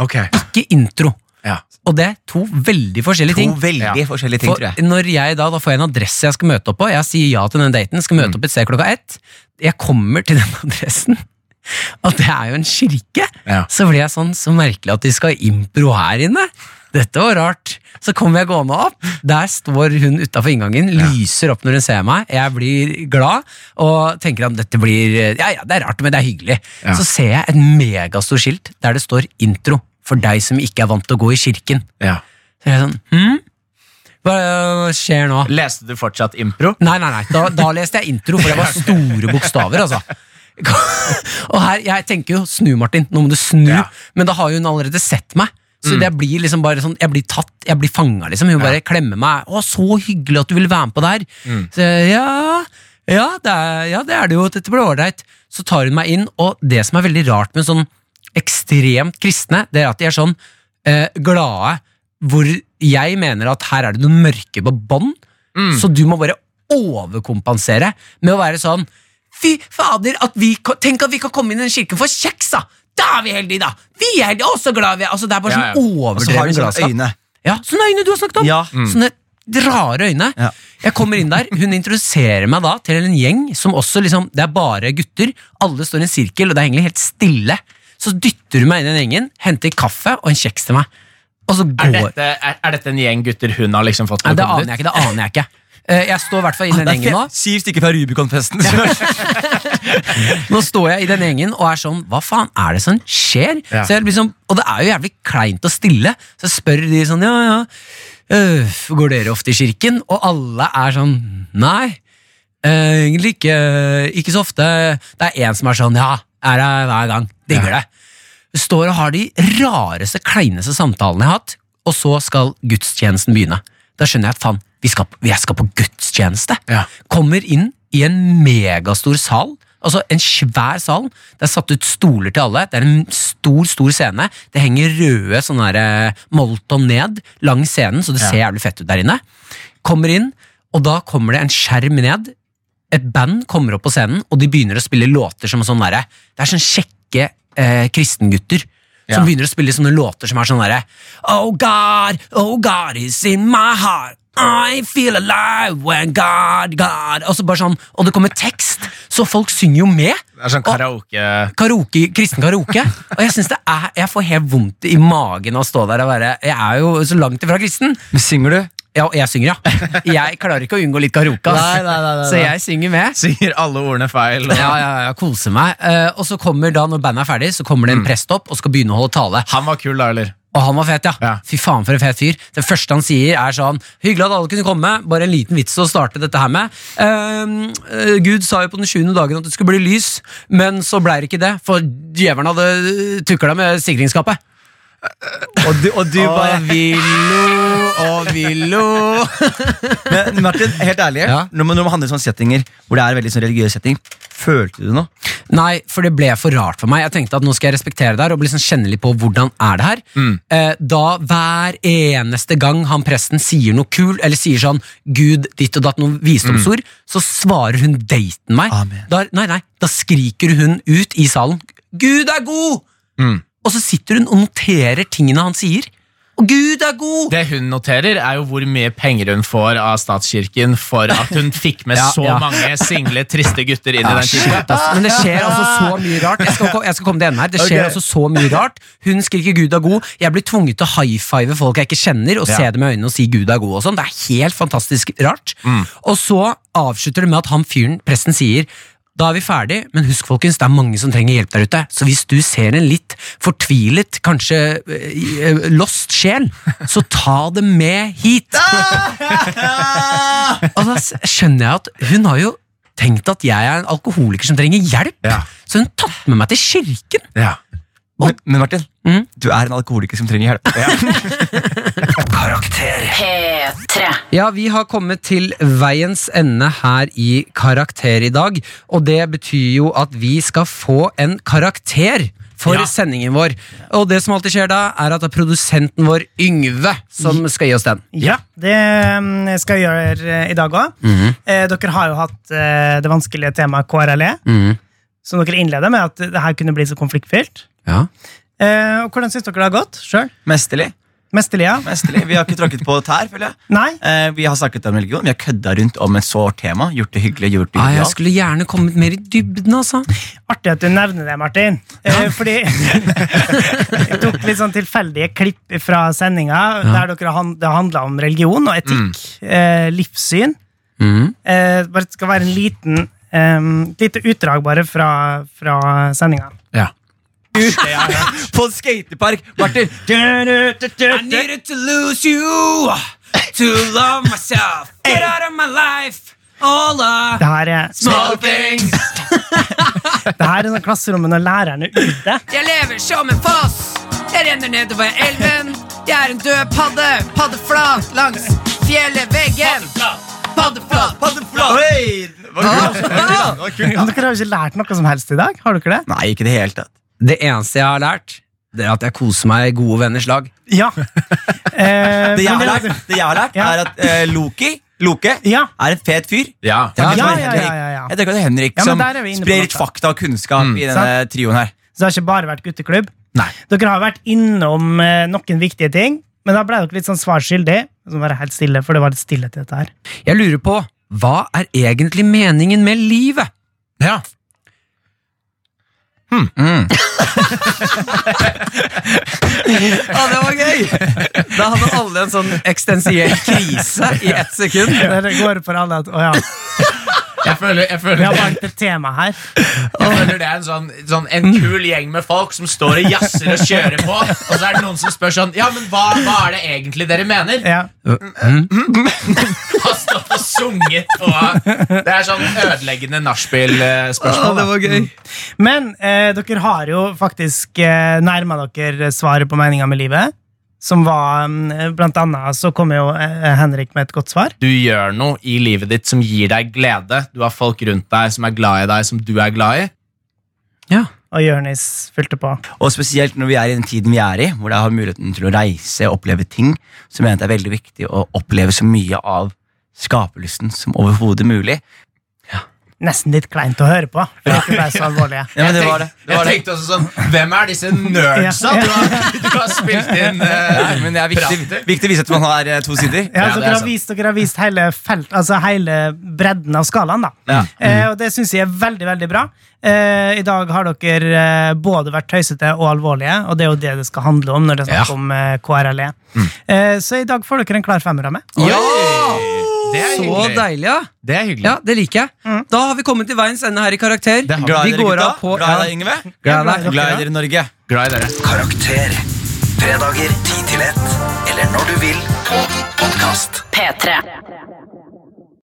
D: Ok.
B: ikke intro.
D: Ja.
B: Og det er to veldig forskjellige
F: To
B: ting.
F: veldig
D: Ja.
F: forskjellige ting,
B: For
F: tror jeg.
B: når jeg da, da får jeg en adresse jeg skal møte opp på. Jeg sier ja til den daten, skal
F: Mm.
B: møte opp et sted klokka ett. Jeg kommer til den adressen, og det er jo en kirke!
D: Ja.
B: Så blir jeg sånn så merkelig at de skal ha impro her inne. Dette var rart. Så kommer jeg gående opp. Der står hun utafor inngangen, lyser opp når hun ser meg. Jeg blir glad og tenker at dette blir Ja, ja, det er rart, men det er hyggelig.
D: Ja.
B: Så ser jeg et megastort skilt der det står 'intro' for deg som ikke er vant til å gå i kirken.
D: Ja.
B: Så jeg er sånn, hm? Hva øh, skjer nå?
D: Leste du fortsatt impro?
B: Nei, nei, nei, da, da leste jeg intro, for det var store bokstaver, altså. Og her, jeg tenker jo, snu Martin, nå må du snu,
D: Ja.
B: men da har hun allerede sett meg. Så det blir liksom bare sånn, jeg blir tatt, jeg blir fanget liksom, hun bare klemmer meg, å, så hyggelig at du vil være med på det her. Så jeg, ja, ja det, er, ja, det er det jo, dette blir ordentlig. Så tar hun meg inn, og det som er veldig rart med sånn ekstremt kristne, det er at de er sånn eh, glade, hvor jeg mener at her er det noe mørke på bånd, så du må bare overkompensere med å være sånn Fy fader, at vi, ko- tenk at vi kan komme inn i den kirken for kjeks, da!
F: Da er vi heldige, da! Vi er også glad vi er Altså, Det er bare
D: Ja, ja.
F: sånn
C: Og så har
B: Overdreven
C: de sånne
B: gladskap.
C: øyne.
B: Ja, sånne øyne du har snakket om. Mm.
C: Ja.
B: Sånne rare øyne.
C: Ja.
B: Jeg kommer inn der, Hun introduserer meg da til en gjeng som også liksom, det er bare gutter. Alle står i en sirkel, og det er egentlig helt stille. Så dytter hun meg inn i den gjengen, henter kaffe og en kjeks til meg. Og så
D: Er
B: går
D: dette, er, er dette en gjeng gutter hun har liksom fått
B: Nei, det
D: til å komme
B: aner jeg ikke. det aner jeg ikke Eh, Jeg står i hvert fall i den
C: Det er
B: gjengen nå.
C: fe- Syv stykker fra Rubicon-festen.
B: Nå står jeg i den gjengen og er sånn Hva faen er det som skjer?
D: Ja.
B: Så jeg liksom, og det er jo jævlig kleint og stille, så jeg spør de sånn Ja, ja, øh, går dere ofte i kirken? Og alle er sånn Nei, eh, egentlig ikke, ikke så ofte. Det er en som er sånn Ja, er her hver gang. Digger det. Står og har de rareste, kleineste samtalene jeg har hatt, og så skal gudstjenesten begynne. Da skjønner jeg at faen, vi skal, jeg skal på gudstjeneste.
D: Ja.
B: Kommer inn i en megastor sal. Altså En svær sal. Det er satt ut stoler til alle. Det er en stor stor scene. Det henger røde sånne her, eh, molton ned langs scenen, så det ser jævlig fett ut der inne. Kommer inn, og da kommer det en skjerm ned. Et band kommer opp på scenen, og de begynner å spille låter som er sånn derre Det er sånn kjekke eh, kristengutter. Som
D: Ja.
B: begynner å spille sånne låter som er sånn derre Oh God, oh God is in my heart. I feel alive when God, God Og så bare sånn, og det kommer tekst, så folk synger jo med
D: Det er sånn karaoke
B: karaoke, kristen karaoke. Og jeg synes det er, jeg får helt vondt i magen av å stå der og være Jeg er jo så langt ifra kristen.
C: Men synger du?
B: Ja, og jeg synger, ja. Jeg klarer ikke å unngå litt karaoke, ass.
C: Nei, nei, nei, nei,
B: så jeg synger med.
D: Sier alle ordene feil. og-
B: Ja, ja, ja, koser meg. Eh, og så kommer da, når bandet er ferdig, så kommer det en prest opp og skal begynne å holde tale.
D: Han var kul, da, eller?
B: Og han var fet, ja.
D: Ja.
B: Fy faen for en fet fyr. Det første han sier er sånn Hyggelig at alle kunne komme, bare en liten vits å starte dette her med. Ehm, eh, Gud sa jo på den sjuende dagen at det skulle bli lys, men så blei det ikke det, for djevelen hadde tukla med sikringsskapet.
C: Og du, og du bare
B: villo, og villo
C: Men Martin, helt ærlig,
B: Ja.
C: når, man, når man handler i sånne settinger hvor det er veldig sånn religiøs setting, følte du noe?
B: Nei, for det ble for rart for meg. Jeg tenkte at nå skal jeg respektere det her og liksom kjenne litt på hvordan er det her. Eh, da hver eneste gang han presten sier noe kul, eller sier sånn Gud ditt og datt, noen visdomsord, så svarer hun daten meg.
C: Amen.
B: Da, nei, nei, da skriker hun ut i salen Gud er god! Og så sitter hun og noterer tingene han sier. Og Gud er god!
D: Det hun noterer, er jo hvor mye penger hun får av statskirken for at hun fikk med
B: Ja,
D: så
B: ja.
D: mange single, triste gutter inn i den kirka.
B: Altså, Men det skjer altså så mye rart. Jeg skal, ko- jeg skal komme til enden her. Det skjer
C: Ok.
B: altså så mye rart. Hun skriker 'Gud er god'. Jeg blir tvunget til å high-five folk jeg ikke kjenner, og se
D: Ja.
B: dem i øynene og si 'Gud er god' og sånn. Det er helt fantastisk rart. Og så avslutter det med at han fyren, presten, sier da er vi ferdig, men husk folkens, det er mange som trenger hjelp der ute. Så hvis du ser en litt fortvilet, kanskje eh, eh, lost sjel, så ta det med hit. Og da Altså, s- skjønner jeg at hun har jo tenkt at jeg er en alkoholiker som trenger hjelp.
D: Ja.
B: Så hun tatt med meg til kirken.
D: Ja.
C: Men, men Martin,
B: Mhm.
C: du er en alkoholiker som trenger hjelp.
E: P3.
B: Ja, vi har kommet til veiens ende her i Karakter i dag. Og det betyr jo at vi skal få en karakter for
D: Ja.
B: sendingen vår. Og det som alltid skjer da, er at det er produsenten vår, Yngve, som skal gi oss den.
D: Ja.
H: Ja, det mm, skal vi gjøre eh, i dag òg. eh, dere har jo hatt eh, det vanskelige temaet KRLE, som E. dere innleda med at det her kunne bli så konfliktfylt.
B: Ja.
H: Eh, og hvordan syns dere det har gått sjøl?
C: Mesterlig.
H: Mesterlig, ja?
C: Mesterlig. Vi har ikke tråkket på tær, føler jeg.
H: Nei?
C: Eh, vi har snakket om religion, vi har kødda rundt om et sårt tema. Gjort det hyggelig, gjort det
B: Ah, jeg
C: hyggelig.
B: skulle gjerne kommet mer i dybden, altså.
H: Artig at du nevner det, Martin. Eh, fordi jeg tok litt sånn tilfeldige klipp fra sendinga der dere han, det handla om religion og etikk. Eh, livssyn.
B: Mm.
H: Eh, bare det skal være en liten eh, lite utdrag bare fra, fra sendinga.
D: Ja.
C: På en skatepark, Martin!
B: I needed to lose you, to love myself, get out of my life, all the
H: Det her er,
B: small things.
H: det her er sånn klasserommet når læreren er ute.
B: Jeg lever som en foss, jeg renner nedover elven. Jeg er en død padde, paddeflat langs fjellet, veggen. Paddeflat, paddeflat.
C: Oi! Det var kult. Det var kult, ja.
H: Dere har jo ikke lært noe som helst i dag. har dere det?
C: Nei, ikke i det hele tatt.
B: Det eneste jeg har lært, det er at jeg koser meg i gode venners lag.
H: Ja. Eh,
C: Det jeg har
H: men
C: lært,
H: det-
C: det jeg har lært
H: Ja.
C: er at eh, Loki Loke
H: Ja.
C: er en fet fyr.
D: ja.
C: Jeg tenker
H: Ja,
C: på
H: ja,
C: Henrik.
H: ja, ja, ja.
C: Jeg tenker på Henrik
H: Ja, men
C: som
H: der er vi inne på
C: sprer
H: noe. Mm.
C: litt fakta og kunnskap i denne trioen her.
H: Så Så det har ikke bare vært gutteklubb.
D: Nei.
H: Dere har vært innom eh, noen viktige ting, men da ble dere litt sånn svarskyldig. Så må jeg være helt stille, for det var litt stillhet i dette her.
B: Jeg lurer på, hva er egentlig meningen med livet?
D: Ja.
B: Ja, det var gøy! Da hadde alle en sånn eksistensiell krise i ett sekund.
H: Det går for alle at, å ja,
D: Jeg føler, jeg føler,
H: vi har valgt et tema her.
D: Jeg føler det er en sånn, sånn En kul gjeng med folk som står og jazzer og kjører på. Og så er det noen som spør sånn Ja, men hva, hva er det egentlig dere mener?
H: Ja.
D: Har stått og sunget på Det er sånn ødeleggende nachspiel-spørsmål.
B: var gøy.
H: Men eh, dere har jo faktisk eh, nærma dere svaret på meninga med livet. Som var mm, Blant annet så kom jo eh, Henrik med et godt svar.
D: Du gjør noe i livet ditt som gir deg glede. Du har folk rundt deg som er glad i deg, som du er glad i.
B: Ja.
H: Og Jonis fulgte på.
F: Og spesielt når vi er i den tiden vi er i, hvor jeg har muligheten til å reise og oppleve ting, så mener jeg det er veldig viktig å oppleve så mye av skaperlysten som overhodet mulig.
H: Nesten litt kleint å høre på. For det ble så alvorlige.
F: Ja, men det var det. det,
D: jeg
F: var det.
D: tenkte også sånn Hvem er disse nerdsa du har, du har spilt inn?
F: Nei,
D: eh,
F: men det er viktig,
D: Praktisk.
F: viktig å vise at man har eh, to sider.
H: Ja,
D: Ja, det er
H: dere, har
D: sant.
H: vist, dere har vist hele, felt, altså hele bredden av skalaen, da.
F: Ja.
H: Eh,
D: Mm.
H: og det syns jeg er veldig veldig bra. Eh, I dag har dere eh, både vært tøysete og alvorlige, og det er jo det det skal handle om når det er snakk om eh, KRLE.
D: Mm.
H: Eh, så i dag får dere en klar femmer av meg.
B: ja!
D: Det er
B: Så
D: hyggelig.
B: deilig, ja.
D: Det er hyggelig.
B: Ja, Det liker jeg. Da har vi kommet til veiens ende her i Karakter.
D: har vi.
F: Glad i
B: Vi
F: dere,
B: går
F: gutta.
B: av på
F: Glad i deg,
B: ja,
F: Yngve.
B: glad i deg.
F: Glad i dere, Norge.
D: Glad i dere.
A: Karakter. Fredager 10 til 1. Eller når du vil på podkast.
E: P3.